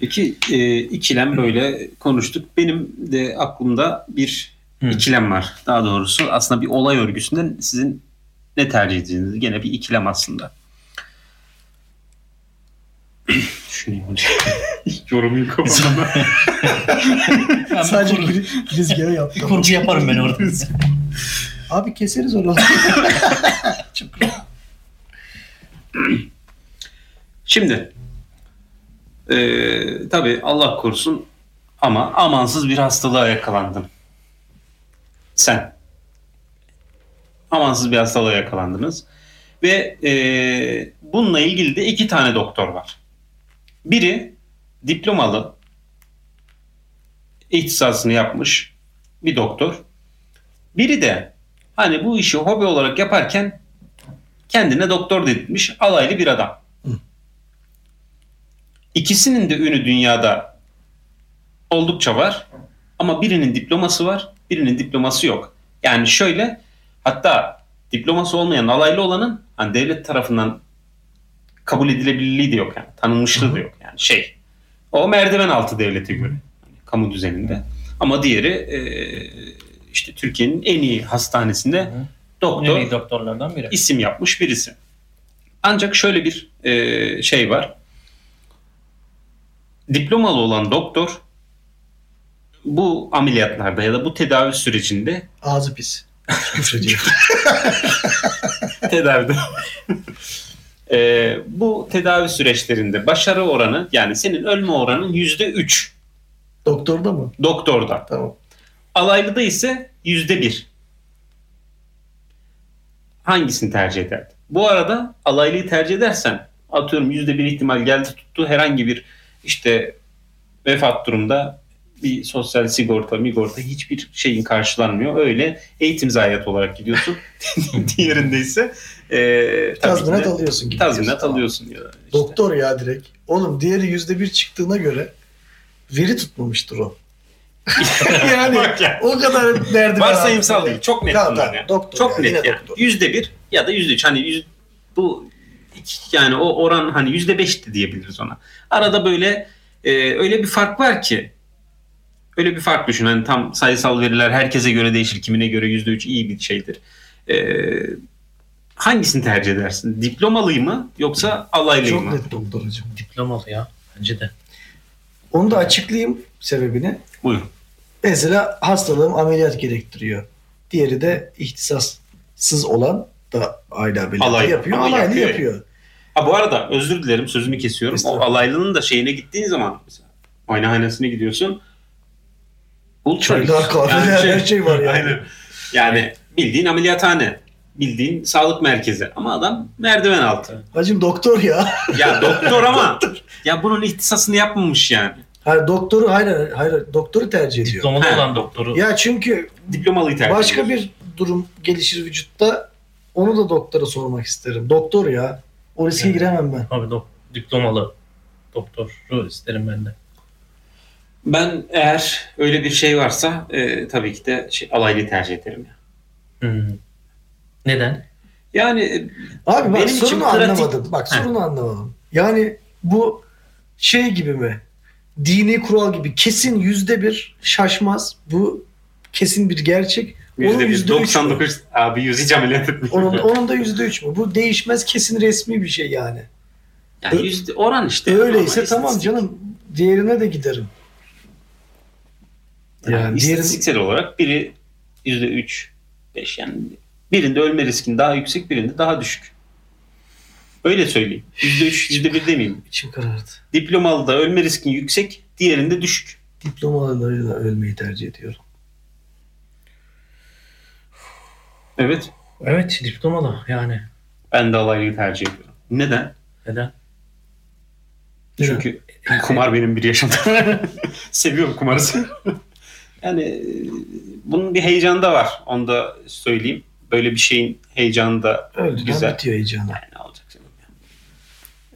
peki
E, ikilem böyle konuştuk. Benim de aklımda bir
Hı.
ikilem var. Daha doğrusu aslında bir olay örgüsünden sizin ne tercih edeceğiniz gene bir ikilem aslında. Düşüneyim.
yorumun kafamda.
Ben
Sadece
bir kurgu,
kri- girizgahı yaptım.
bir kurgu yaparım ben orada.
Abi keseriz onu. Çok rahat.
Şimdi eee tabii Allah korusun ama amansız bir hastalığa yakalandın. Sen. Amansız bir hastalığa yakalandınız. Ve eee, bununla ilgili de iki tane doktor var. Biri diplomalı ihtisasını yapmış bir doktor. Biri de hani bu işi hobi olarak yaparken kendine doktor dedirtmiş alaylı bir adam. İkisinin de ünü dünyada oldukça var. Ama birinin diploması var, birinin diploması yok. Yani şöyle, hatta diploması olmayan alaylı olanın hani devlet tarafından kabul edilebilirliği de yok yani. Tanınmışlığı da yok yani şey. O merdiven altı devlete göre. hani kamu düzeninde. Ama diğeri e, işte Türkiye'nin en iyi hastanesinde
Hı.
doktor
Doktor. doktorlardan biri.
isim yapmış birisi. Ancak şöyle bir e, şey var. Diplomalı olan doktor bu ameliyatlarda ya da bu tedavi sürecinde
Ağzı pis. Küfrediyor.
tedavide e, bu tedavi süreçlerinde başarı oranı yani senin ölme oranın yüzde üç
Doktor da mı?
doktorda.
Tamam.
Alaylıda ise yüzde bir. Hangisini tercih ederdin? Bu arada alaylıyı tercih edersen atıyorum yüzde bir ihtimal geldi tuttu herhangi bir işte vefat durumda bir sosyal sigorta, migorta hiçbir şeyin karşılanmıyor. Öyle eğitim zayiatı olarak gidiyorsun. Diğerinde ise eee tabii ki
Tazminat
de
alıyorsun gibi.
tazminat
diyorsun.
alıyorsun. Ya da işte.
Doktor ya direkt. Oğlum diğeri yüzde bir çıktığına göre veri tutmamıştır o. yani o kadar derdi var.
Varsayımsal değil. Çok net
Tamam,
bunlar
tamam,
ya.
doktor
Çok
yani,
net
yine
yani.
doktor.
Yüzde bir ya da yüzde üç. Hani yüz, bu iki- yani o oran hani yüzde beşti diyebiliriz ona. Arada böyle e, öyle bir fark var ki öyle bir fark düşün. Hani tam sayısal veriler herkese göre değişir. Kimine göre yüzde üç iyi bir şeydir. E, hangisini tercih edersin? Diplomalıyı mı yoksa alaylı
Çok
mı?
net doktor hocam.
Diplomalı ya. Bence de.
Onu da açıklayayım sebebini.
Buyurun.
Mesela hastalığım ameliyat gerektiriyor. Diğeri de ihtisassız olan da aile ameliyatı
Alay-
yapıyor.
ama
Alaylı
yapıyor.
yapıyor.
Ha bu arada özür dilerim sözümü kesiyorum. O
Estağfurullah.
alaylının da şeyine gittiğin zaman mesela aynahanesine gidiyorsun. Ultra lüks.
Çaylar, kahveler,
Yani şey-
her şey var yani.
Aynen. Yani bildiğin ameliyathane, bildiğin sağlık merkezi ama adam merdiven altı.
Hacım doktor ya.
Ya doktor ama ya bunun ihtisasını yapmamış yani.
Hayır doktoru hayır hayır doktoru tercih ediyor.
Diplomalı
Ha.
olan doktoru.
Ya çünkü
Diplomalıyı tercih
başka
ediyor.
bir durum gelişir vücutta onu da doktora sormak isterim. Doktor ya. O riske
Evet.
giremem ben.
Abi dok- diplomalı doktoru isterim ben de.
Ben eğer öyle bir şey varsa e, tabii ki de şey, alaylı tercih ederim. ya.
Hmm. Neden?
Yani e,
Abi bak
Benim için
sorunu
pratik-
anlamadım. Bak sorunu anlamadım. Yani bu şey gibi mi? Dini kural gibi kesin yüzde bir şaşmaz. Bu kesin bir gerçek. Onun
yüzde bir,
yüzde üç mü?
99 abi yüz hiç ameliyat etmiyor.
Onun, onun da yüzde üç mü? Bu değişmez kesin resmi bir şey yani.
Yani yüzde oran işte.
Öyleyse
E, Ama
tamam
istatistik-
canım. Diğerine de giderim.
Yani,
Yani diğerin-
istatistiksel olarak biri yüzde üç, beş yani birinde ölme riskin daha yüksek birinde daha düşük. Öyle söyleyeyim. Yüzde üç, yüzde bir demeyeyim.
İçim karardı.
Diplomalı da ölme riskin yüksek, diğerinde düşük.
Diplomalarıyla ölmeyi tercih ediyorum.
Evet.
Evet diplomalı yani.
Ben de alaylıyı tercih ediyorum. Neden?
Neden?
Neden?
Çünkü kumar benim bir yaşamda. Seviyorum kumarı. yani e, bunun bir heyecanı da var. Onu da söyleyeyim. Böyle bir şeyin heyecanı da
Öldü.
Güzel.
Bitiyor heyecanı.
Yani alacak canım ya.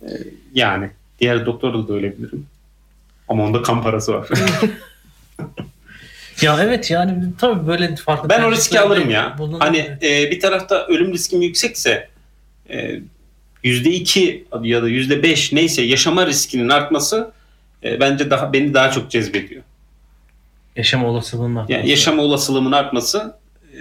Ee, yani diğer doktorda da ölebilirim. Ama onda kan parası var.
Ya evet yani tabii böyle farklı.
ben o riski
tercihlerde
alırım ya.
bulunur.
Hani e, bir tarafta ölüm riskim yüksekse e, %2 ya da %5 neyse yaşama riskinin artması e, bence daha beni daha çok cezbediyor.
yaşam olasılığından.
Yani yaşama olasılığımın artması e,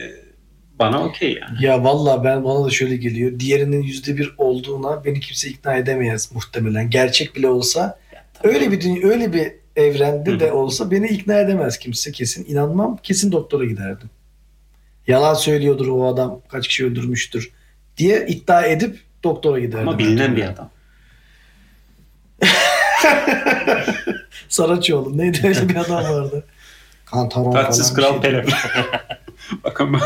bana okey yani.
Ya valla ben bana da şöyle geliyor. Diğerinin yüzde bir olduğuna beni kimse ikna edemeyez muhtemelen. Gerçek bile olsa öyle bir dünya, öyle bir evrende
Hı hı.
de olsa beni ikna edemez kimse kesin. İnanmam kesin doktora giderdim. Yalan söylüyordur o adam kaç kişi öldürmüştür diye iddia edip doktora giderdim.
Ama bilinen bir adam.
Saraçoğlu neydi öyle bir adam vardı. Kantaron falan.
Tatsız
bir
kral
şey.
Pelem. Bakın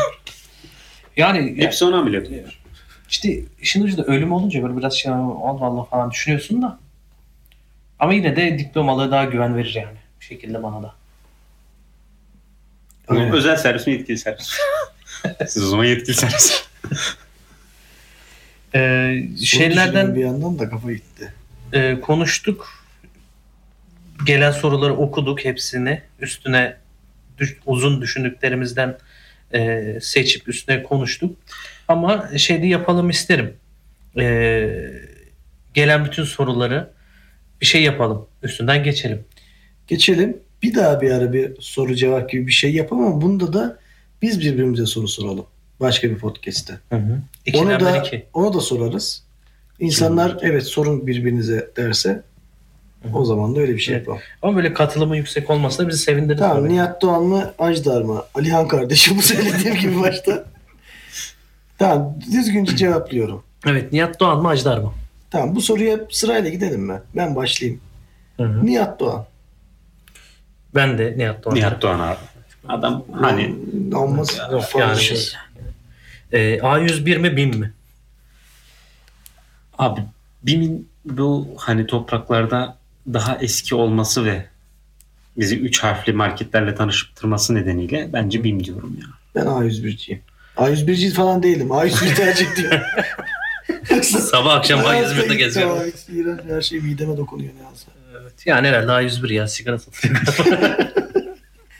yani
hepsi ona bile diyor.
İşte işin ucunda ölüm olunca böyle biraz şey Allah Allah falan düşünüyorsun da. Ama yine de diplomalı daha güven verir yani. Bir şekilde bana da.
Aynen.
Özel servis mi yetkili servis? mi? Siz o zaman yetkili servis.
Ee,
Bunu düşünüyorum
şeylerden
bir yandan da kafa gitti.
e, konuştuk. Gelen soruları okuduk hepsini. Üstüne düş- uzun düşündüklerimizden e, seçip üstüne konuştuk. Ama şeyde yapalım isterim. E, gelen bütün soruları bir şey yapalım. Üstünden geçelim.
Geçelim. Bir daha bir ara bir soru cevap gibi bir şey yapalım ama bunda da biz birbirimize soru soralım. Başka bir podcast'te.
Hı hı.
Onu da,
İkilemden iki.
onu da sorarız. İnsanlar evet sorun birbirinize derse
Hı hı.
o zaman da öyle bir şey
Evet.
yapalım.
Ama böyle katılımı yüksek olmasa da bizi sevindirir.
Tamam
tabii.
Nihat Doğan mı Ajdar mı? Alihan kardeşim bu söylediğim gibi başta. Tamam düzgünce cevaplıyorum.
Evet Nihat Doğan mı Ajdar mı?
Tamam bu soruya sırayla gidelim mi? Ben başlayayım. Nihat Doğan.
Ben de Nihat Doğan.
Nihat Doğan abi. Adam hani
Olmaz.
Yok,
Falan
yani-
şey.
Ee, A101 mi BİM mi?
abi BİM'in bu hani topraklarda daha eski olması ve bizi üç harfli marketlerle tanıştırması nedeniyle bence BİM diyorum ya.
Ben A101'ciyim. A101'ci falan değilim. A101 tercih diyorum.
Sabah akşam
Hayatta
A101'de
gittim
geziyorum.
abi. İğrenç, Her şey mideme dokunuyor ne yazık.
Evet.
Yani herhalde A101 ya sigara satılıyor.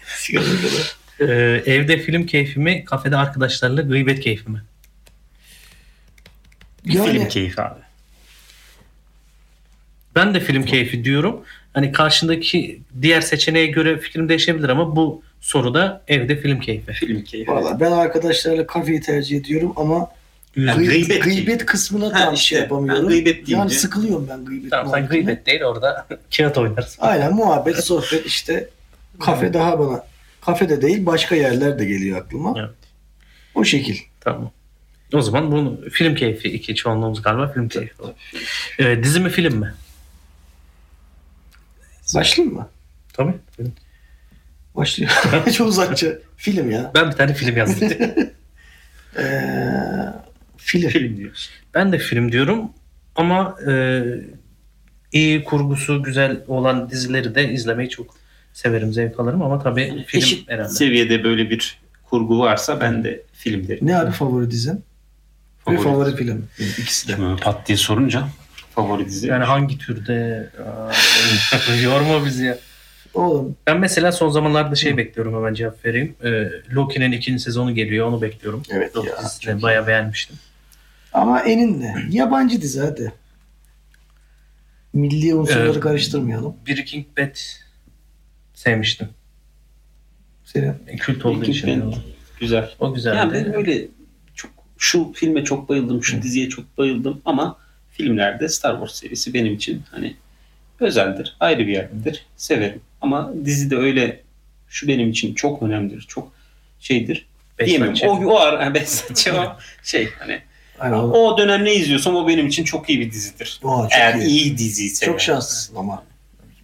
Sigara kadar.
Ee, evde film keyfimi, kafede arkadaşlarla gıybet keyfimi.
Yani
Film keyfi abi.
Ben de film keyfi diyorum. Hani karşındaki diğer seçeneğe göre fikrim değişebilir ama bu soruda evde film keyfi.
Film keyfi.
valla ben arkadaşlarla kafeyi tercih ediyorum ama
Yani
gıy-
gıybet
gıybet,
değil.
kısmına
Ha
tam
işte,
şey yapamıyorum.
ben gıybet deyince-
yani sıkılıyorum ben gıybet
Tamam sen
muhabbetine.
gıybet değil orada kağıt oynarsın.
Aynen muhabbet, sohbet işte kafe daha bana kafede değil başka yerler de geliyor aklıma.
Evet.
O şekil.
Tamam. O zaman bunu film keyfi iki çoğunluğumuz galiba film keyfi. olur. Ee, dizi mi film mi?
Başlayayım mı?
Tabii.
Başlıyor. Çok uzakça. Film ya.
Ben bir tane film yazdım.
Ee, film.
Film diyorsun.
Ben de film diyorum ama e, iyi kurgusu güzel olan dizileri de izlemeyi çok severim, zevk alırım ama tabii film
Eşit
herhalde.
seviyede böyle bir kurgu varsa ben de film derim.
Ne abi favori dizin? Ve
Favori.
favori film. İkisi de.
Böyle Pat diye sorunca favori dizi.
Yani hangi türde Aa, yorma bizi ya.
Oğlum
Ben mesela son zamanlarda şey bekliyorum hemen cevap vereyim. E, Loki'nin ikinci sezonu geliyor onu bekliyorum.
evet
Loki
ya.
dizisini bayağı beğenmiştim.
Ama eninle. Yabancı dizi hadi. Milli unsurları
Ee,
karıştırmayalım.
Breaking Bad sevmiştim.
Senin.
Kült olduğu
Breaking
için.
Bad. Güzel.
O güzeldi.
Yani ben öyle çok şu filme çok bayıldım, şu diziye çok bayıldım ama filmlerde Star Wars serisi benim için hani özeldir, ayrı bir yerdir, severim. Ama dizide öyle şu benim için çok önemlidir, çok şeydir
Beş
diyemem.
saat
O, o ara ha, ben sadece o şey hani
Aynen. O,
o dönem ne izliyorsam o benim için çok iyi bir dizidir.
Oha, çok
Eğer
iyi.
iyi, dizi ise.
Çok şanslısın ama.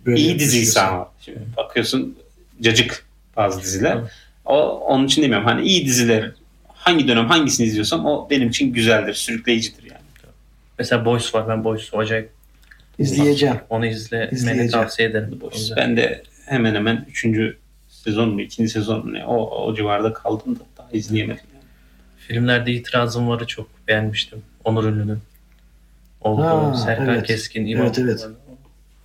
Böyle
İyi diziyse
düşünüyorsun.
ama. Şimdi bakıyorsun cacık bazı diziler.
Evet.
O, onun için demiyorum. Hani iyi diziler hangi dönem hangisini izliyorsam o benim için güzeldir, sürükleyicidir yani.
Mesela Boys var ben Boys'u acayip
İzleyeceğim.
Onu izle.
İzleyeceğim.
tavsiye ederim. Boys.
Ben de hemen hemen 3. sezon mu, 2. sezon mu ne, o, o civarda kaldım da daha izleyemedim. yani.
Filmlerde itirazım varı çok beğenmiştim. Onur Ünlü'nün. Olduğu
Ha,
Serkan
evet.
Keskin. İmam.
Evet, evet.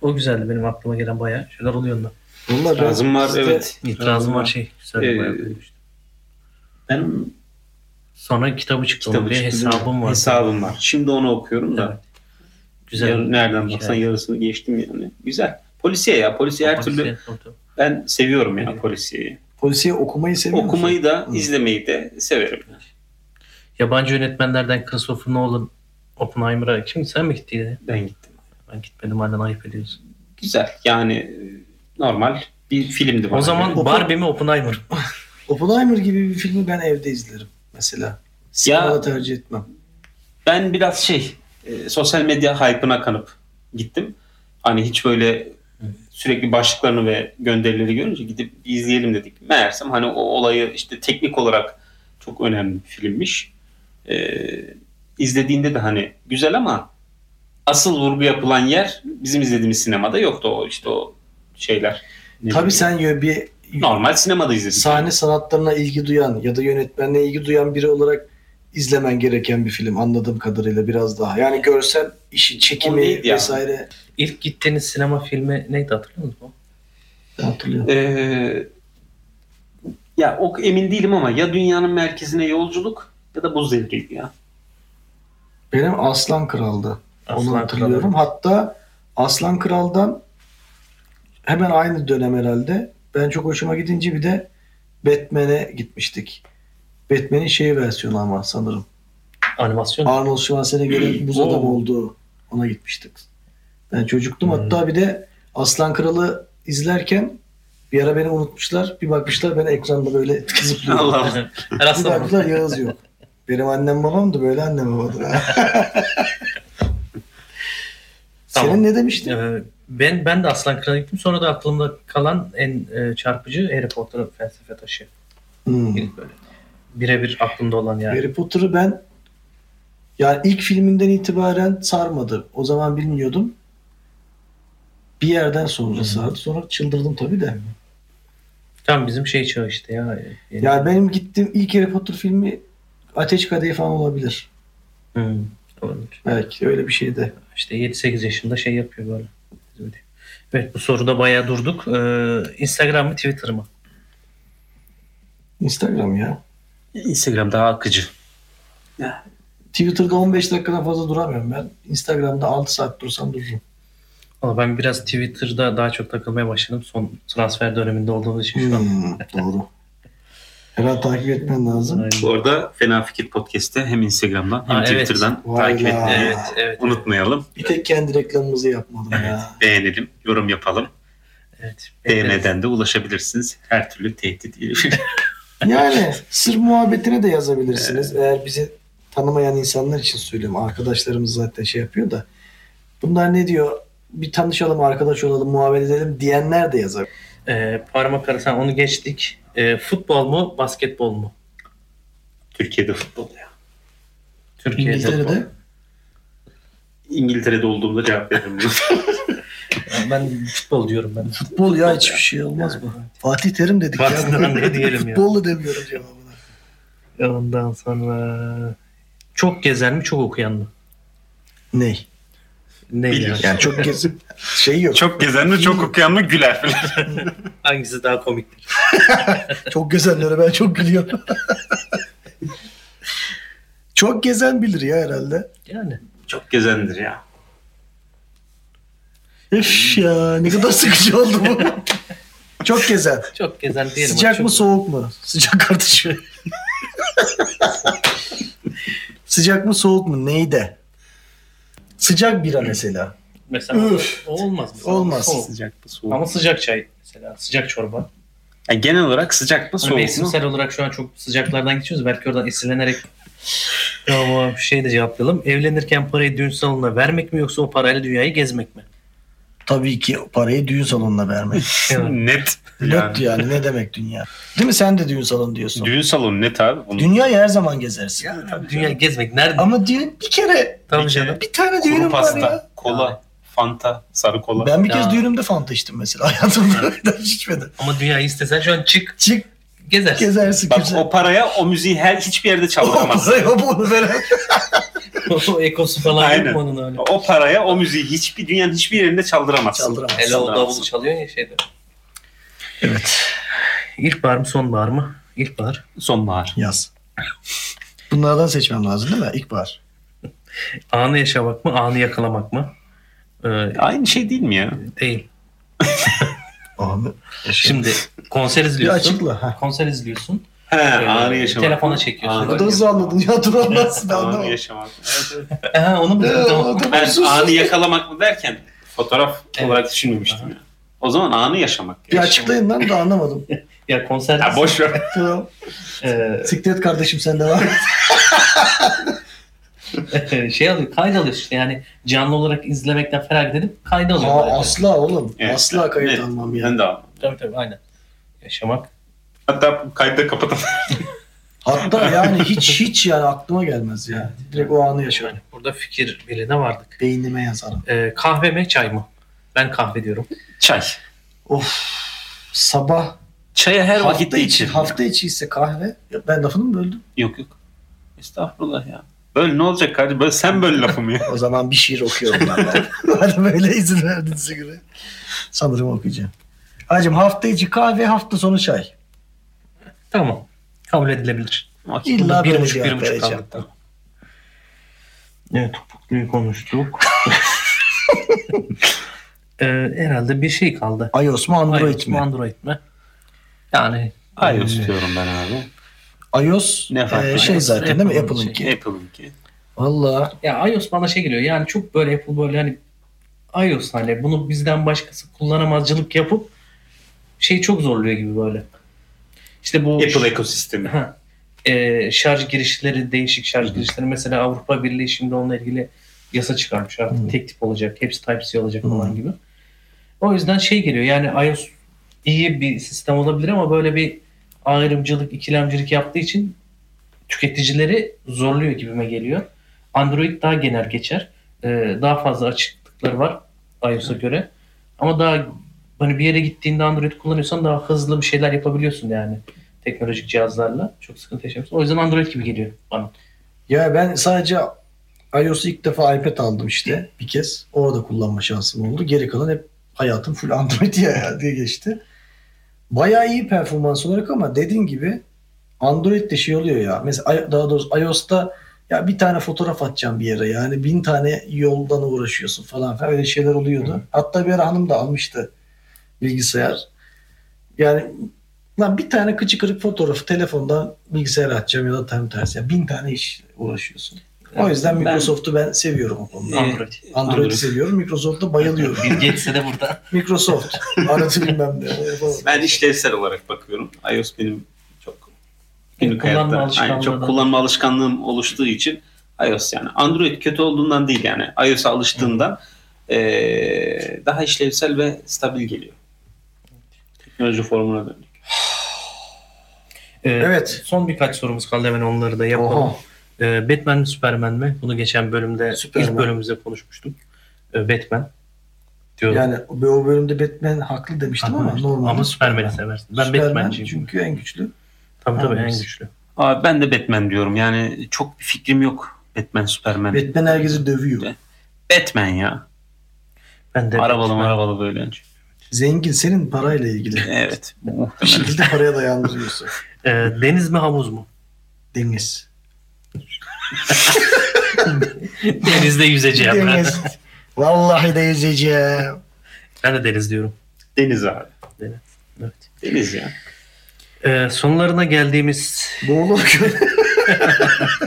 O güzeldi benim aklıma gelen bayağı şeyler oluyor onda.
Bunlar
Razım var,
Sizde-
evet.
İtirazım var şey. Güzel
Ee,
bayağı beğenmiştim.
Ben
Sonra kitabı çıktı onun
kitabı
diye
çıktı,
hesabım var.
Hesabım var. Şimdi onu okuyorum da.
Güzel.
yar- nereden baksan
Hikaye.
yarısını geçtim yani. Güzel. Polisiye ya. Polisiye her türlü ben seviyorum ya polisiyeyi.
Polisiye okumayı seviyor musun?
Okumayı da
Hı.
izlemeyi de severim.
Yabancı yönetmenlerden Christopher Nolan Oppenheimer'a kim sen mi gittiydin?
Ben gittim.
Ben gitmedim halen ayıp ediyorsun.
Güzel. Yani e, normal bir filmdi bana.
O zaman
Oppen-
Barbie mi Oppenheimer? mı?
Oppenheimer gibi bir filmi ben evde izlerim mesela. Sinemada tercih etmem.
ben biraz şey e, sosyal medya hype'ına kanıp gittim. Hani hiç böyle sürekli başlıklarını ve gönderileri görünce gidip bir izleyelim dedik. Meğersem hani o olayı işte teknik olarak çok önemli bir filmmiş. E, izlediğinde de hani güzel ama asıl vurgu yapılan yer bizim izlediğimiz sinemada yoktu o işte o şeyler. Ne
Tabii
bileyim.
sen yo- bir
normal sinemada izledik.
sahne sanatlarına ilgi duyan ya da yönetmenle ilgi duyan biri olarak izlemen gereken bir film anladığım kadarıyla biraz daha. Yani görsel işi,
O
çekimi
neydi ya?
vesaire
İlk gittiğiniz sinema filmi neydi hatırlıyor musun?
hatırlıyorum.
Ee, ya ok emin değilim ama ya dünyanın merkezine yolculuk ya da buz devriydi ya.
Benim Aslan Kral'dı. Onu hatırlıyorum. Hatta Aslan Kral'dan hemen aynı dönem herhalde. Ben çok hoşuma gidince bir de Batman'e gitmiştik. Batman'in şey versiyonu ama sanırım.
Animasyon.
Arnold Schwarzenegger'in buz
Oo.
adam olduğu ona gitmiştik. Ben çocuktum
Hmm.
hatta bir de Aslan Kralı izlerken bir ara beni unutmuşlar. Bir bakmışlar ben ekranda böyle zıplıyorum.
Her
Bir
hafta
baktılar Yağız yok. Benim annem babam da böyle annem babadır. ha. Senin
Tamam.
ne demiştin?
Ee, ben ben de Aslan Kral'a gittim. Sonra da aklımda kalan en e, çarpıcı Harry Potter'ın felsefe taşı.
Hmm.
İlk böyle. Birebir aklımda olan yani.
Harry Potter'ı ben yani ilk filminden itibaren sarmadı. O zaman bilmiyordum. Bir yerden sonra
Hı.
sardı. Sonra çıldırdım tabii de.
Tam bizim şey çağı işte ya. Yani,
Ya benim gittiğim ilk Harry Potter filmi Ateş Kadehi falan olabilir.
Hı, olabilir.
Belki öyle bir şey de.
İşte 7-8 yaşında şey yapıyor böyle. Evet bu soruda bayağı durduk. Ee, Instagram mı Twitter mı?
Instagram ya.
Instagram daha akıcı.
Twitter'da 15 dakikadan fazla duramıyorum ben. Instagram'da 6 saat dursam dururum.
Valla ben biraz Twitter'da daha çok takılmaya başladım. Son transfer döneminde olduğumuz için şu an.
Hmm, doğru. Herhalde takip etmen lazım.
Aynen.
Bu arada Fena Fikir Podcast'te hem Instagram'dan hem
Ha, evet.
Twitter'dan
Vay
takip
ya.
etmeyi
Evet, evet.
unutmayalım.
Bir tek kendi reklamımızı yapmadım ya.
Beğenelim, yorum yapalım.
evet.
DM'den de ulaşabilirsiniz. Her türlü tehdit şey. geliyor.
Yani sır muhabbetine de yazabilirsiniz. Eğer bizi tanımayan insanlar için söylüyorum. Arkadaşlarımız zaten şey yapıyor da. Bunlar ne diyor? Bir tanışalım, arkadaş olalım, muhabbet edelim diyenler de yazar.
Ee, parmak arası ha, onu geçtik. Ee, futbol mu basketbol mu?
Türkiye'de futbol ya.
Türkiye'de.
İngiltere'de
İngiltere'de olduğumda cevap veririm bunu.
Ben futbol diyorum ben.
futbol ya hiçbir şey olmaz mı? Fatih Terim dedik ya.
Basketbol ne diyelim ya.
Futbol da demiyorum cevabına.
E, Ondan sonra çok gezen mi çok okuyan mı?
Ney?
Ne
Bilir.
yani?
Yani çok gezip şey yok.
çok gezen mi çok okuyan mı güler falan.
Hangisi daha komiktir?
Çok gezenlere ben çok gülüyorum. çok gezen bilir ya herhalde.
Yani.
Çok gezendir ya.
Üf ya ne kadar sıkıcı oldu bu. çok gezen.
Çok gezen diyelim.
Sıcak
Çok-
mı soğuk mu? Sıcak kardeşim. Sıcak mı soğuk mu? Neyde? Sıcak bira mesela.
Mesela
Üf.
o olmaz. mı?
Olmaz.
Soğuk.
Sıcak mı soğuk
Ama sıcak çay mesela. Sıcak çorba.
Yani genel olarak sıcak mı
Hani
soğuk mu?
mevsimsel olarak şu an çok sıcaklardan geçiyoruz. Belki oradan esinlenerek Tamam şey de cevaplayalım. Evlenirken parayı düğün salonuna vermek mi yoksa o parayla dünyayı gezmek mi?
Tabii ki parayı düğün salonuna vermek.
Yani
Net.
Pilot yani ne demek dünya? Değil mi sen de düğün salonu diyorsun.
Düğün salonu net abi. Bunun
Dünyayı her zaman gezersin.
dünya gezmek nerede?
Ama düğün bir kere
Tamam
bir
canım.
kere
bir tane
kuru
düğünüm var ya.
pasta, kola, fanta, sarı kola.
Ben bir kez
Ya.
düğünümde fanta içtim mesela. Hayatımda öyle hiç içmedim.
Ama dünyayı istesen şu an çık
Çık
gezersin.
gezersin
Bak
kimse.
o paraya o müziği her hiçbir yerde
O
çaldıramazsın.
parayı o bunu veren.
o ekosu falan yok
Aynen.
mu onun öyle?
o paraya o müziği hiçbir dünyanın hiçbir yerinde çaldıramazsın.
Çaldıramaz.
Hele o
Çaldıramazsın.
davulu çalıyor ya şeyde. Evet. İlkbahar mı sonbahar mı? İlkbahar.
Sonbahar.
Yaz. Bunlardan seçmem lazım değil mi? İlkbahar.
Anı yaşamak mı? Anı yakalamak mı? Ee,
Aynı şey değil mi ya?
değil.
Anı.
Şimdi konser
Bir
izliyorsun.
açıkla. Ha.
konser izliyorsun.
He,
Ee,
anı yaşamak.
Telefona çekiyorsun.
Bu da hızlı anladın ya dur anlatsın
Anı
anlamadım.
yaşamak.
Aha, onu mu?
Ee,
Tamam.
adam
Ben
sus.
anı yakalamak mı derken fotoğraf
Evet.
olarak düşünmemiştim ya. O zaman anı yaşamak.
Bir açıklayın lan da anlamadım.
Ya konser
Ya boş ver.
Tamam.
Ee,
Siktir et kardeşim sen de var.
şey alıyor, kayda alıyor işte yani canlı olarak izlemekten feragat edip kayda alıyor.
Aa,
böyle.
asla oğlum.
Evet.
Asla kayıt
Evet.
almam ya.
Ben de almam.
Tabii tabii aynen. Yaşamak.
Hatta kaydı da kapatalım.
Hatta yani hiç hiç yani aklıma gelmez ya. Direkt o anı yaşarım.
Yani burada fikir birliğine vardık.
Beynime yazarım.
Ee, kahve mi çay mı? Ben kahve diyorum.
Çay.
Of. Sabah
Çaya her
hafta
vakitte
içi,
için.
hafta içi ise kahve. Ya Ben lafını mı böldüm?
Yok yok. Estağfurullah ya. Böyle ne olacak kardeşim? Böyle sen böyle lafımı ya.
O zaman bir şiir okuyorum ben. de. Madem öyle izin verdiğinize göre. Sanırım okuyacağım. Hacım hafta içi kahve, hafta sonu çay.
Tamam. Kabul edilebilir.
Okey.
İlla
bir
böyle
buçuk, bir
cevap
buçuk
vereceğim.
kaldık. Tamam. Evet, topukluyu konuştuk. ee, herhalde bir şey kaldı.
iOS mu Android
iOS mu,
mi?
Android mi? Yani
Hayır istiyorum ben abi.
iOS
Ne fark
e,
var?
şey zaten değil mi?
Apple'ın
Apple'ınki.
şeyi.
Apple'ınki.
Valla
ya iOS bana şey geliyor. Yani çok böyle Apple böyle hani iOS hani bunu bizden başkası kullanamazcılık yapıp şey çok zorluyor gibi böyle. İşte bu
Apple ekosistemi.
Ha. Ee, şarj girişleri değişik şarj girişleri mesela Avrupa Birliği şimdi onunla ilgili yasa çıkarmış artık tek tip olacak hepsi Type-C olacak falan gibi. O yüzden şey geliyor yani iOS iyi bir sistem olabilir ama böyle bir ayrımcılık ikilemcilik yaptığı için tüketicileri zorluyor gibime geliyor. Android daha genel geçer. Ee, daha fazla açıklıkları var iOS'a göre. Ama daha hani bir yere gittiğinde Android kullanıyorsan daha hızlı bir şeyler yapabiliyorsun yani teknolojik cihazlarla. Çok sıkıntı yaşamıyorsun. O yüzden Android gibi geliyor bana.
ya ben sadece iOS'u ilk defa iPad aldım işte bir kez. Orada kullanma şansım oldu. Geri kalan hep hayatım full Android ya diye geçti. Bayağı iyi performans olarak ama dediğin gibi Android'de şey oluyor ya. Mesela daha doğrusu iOS'ta ya bir tane fotoğraf atacağım bir yere yani bin tane yoldan uğraşıyorsun falan falan öyle şeyler oluyordu. Hı. Hatta bir ara hanım da almıştı bilgisayar. Yani lan bir tane kıçı kırık fotoğrafı telefondan bilgisayara atacağım ya da tam tersi. Ya bin tane iş uğraşıyorsun. O yüzden e, Microsoft'u ben seviyorum o konuda.
Android.
Android'i
Android.
seviyorum, Microsoft'a bayılıyorum.
Bill Gates'e de burada.
Microsoft. Anlatı bilmem ne.
Ben işlevsel olarak bakıyorum. iOS benim çok günlük
kullanma
hayatta
alışkanlığı
aynen, çok
da.
kullanma alışkanlığım oluştuğu için iOS yani. Android kötü olduğundan değil yani. iOS'a alıştığında eee, daha işlevsel ve stabil geliyor. Teknoloji formuna döndük.
Ee,
Evet.
Son birkaç sorumuz kaldı hemen onları da yapalım.
Oho.
Ee, Batman mi Superman mi? Bunu geçen bölümde
Superman.
ilk bölümümüzde konuşmuştuk. Ee, Batman. Diyorum.
Yani o bölümde Batman haklı demiştim ama normal.
Ama Superman'i seversin. Ben
Superman
Batman'ciyim.
çünkü en güçlü.
Tabii tabii en
Anlarsın.
güçlü.
Abi ben de Batman diyorum. Yani çok bir fikrim yok. Batman, Superman.
Batman herkesi dövüyor.
Evet. Batman ya.
Ben de
Arabalı
Batman.
arabalı böyle.
Zengin senin parayla ilgili.
Evet.
Bir
Muhtemelen.
şekilde paraya dayandırıyorsun.
Ee, deniz mi havuz mu?
Deniz.
Denizde yüzeceğim. ben.
Deniz. Vallahi de yüzeceğim.
ben de deniz diyorum.
Deniz abi.
Evet.
Deniz ya.
Ee, sonlarına geldiğimiz
Boğulur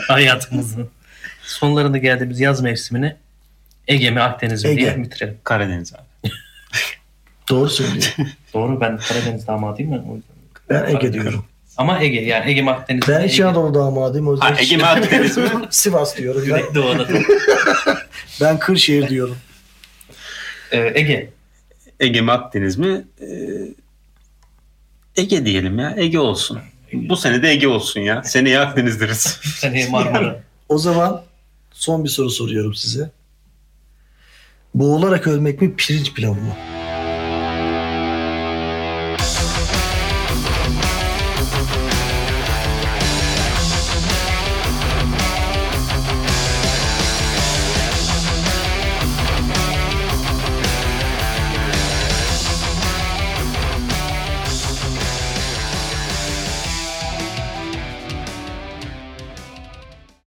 hayatımızın sonlarına geldiğimiz yaz mevsimini Ege mi Akdeniz mi
Ege.
diye bitirelim.
Karadeniz abi.
Doğru söylüyor.
Doğru ben Karadeniz damadıyım ya. o yüzden.
Ben Ege diyorum.
Ama Ege yani Ege mi Akdeniz mi?
Ben İç
Ege.
Anadolu damadıyım. O yüzden
Ha, Ege mi Akdeniz mi?
Sivas diyorum. Ben,
Güneydoğu Anadolu.
ben Kırşehir diyorum.
Ee, Ege.
Ege mi Akdeniz mi? Ee, Ege diyelim ya. Ege olsun. Bu sene de Ege olsun ya. Seneye Akdeniz deriz.
Seneye Marmara.
O zaman son bir soru soruyorum size. Boğularak ölmek mi pirinç pilavı mı?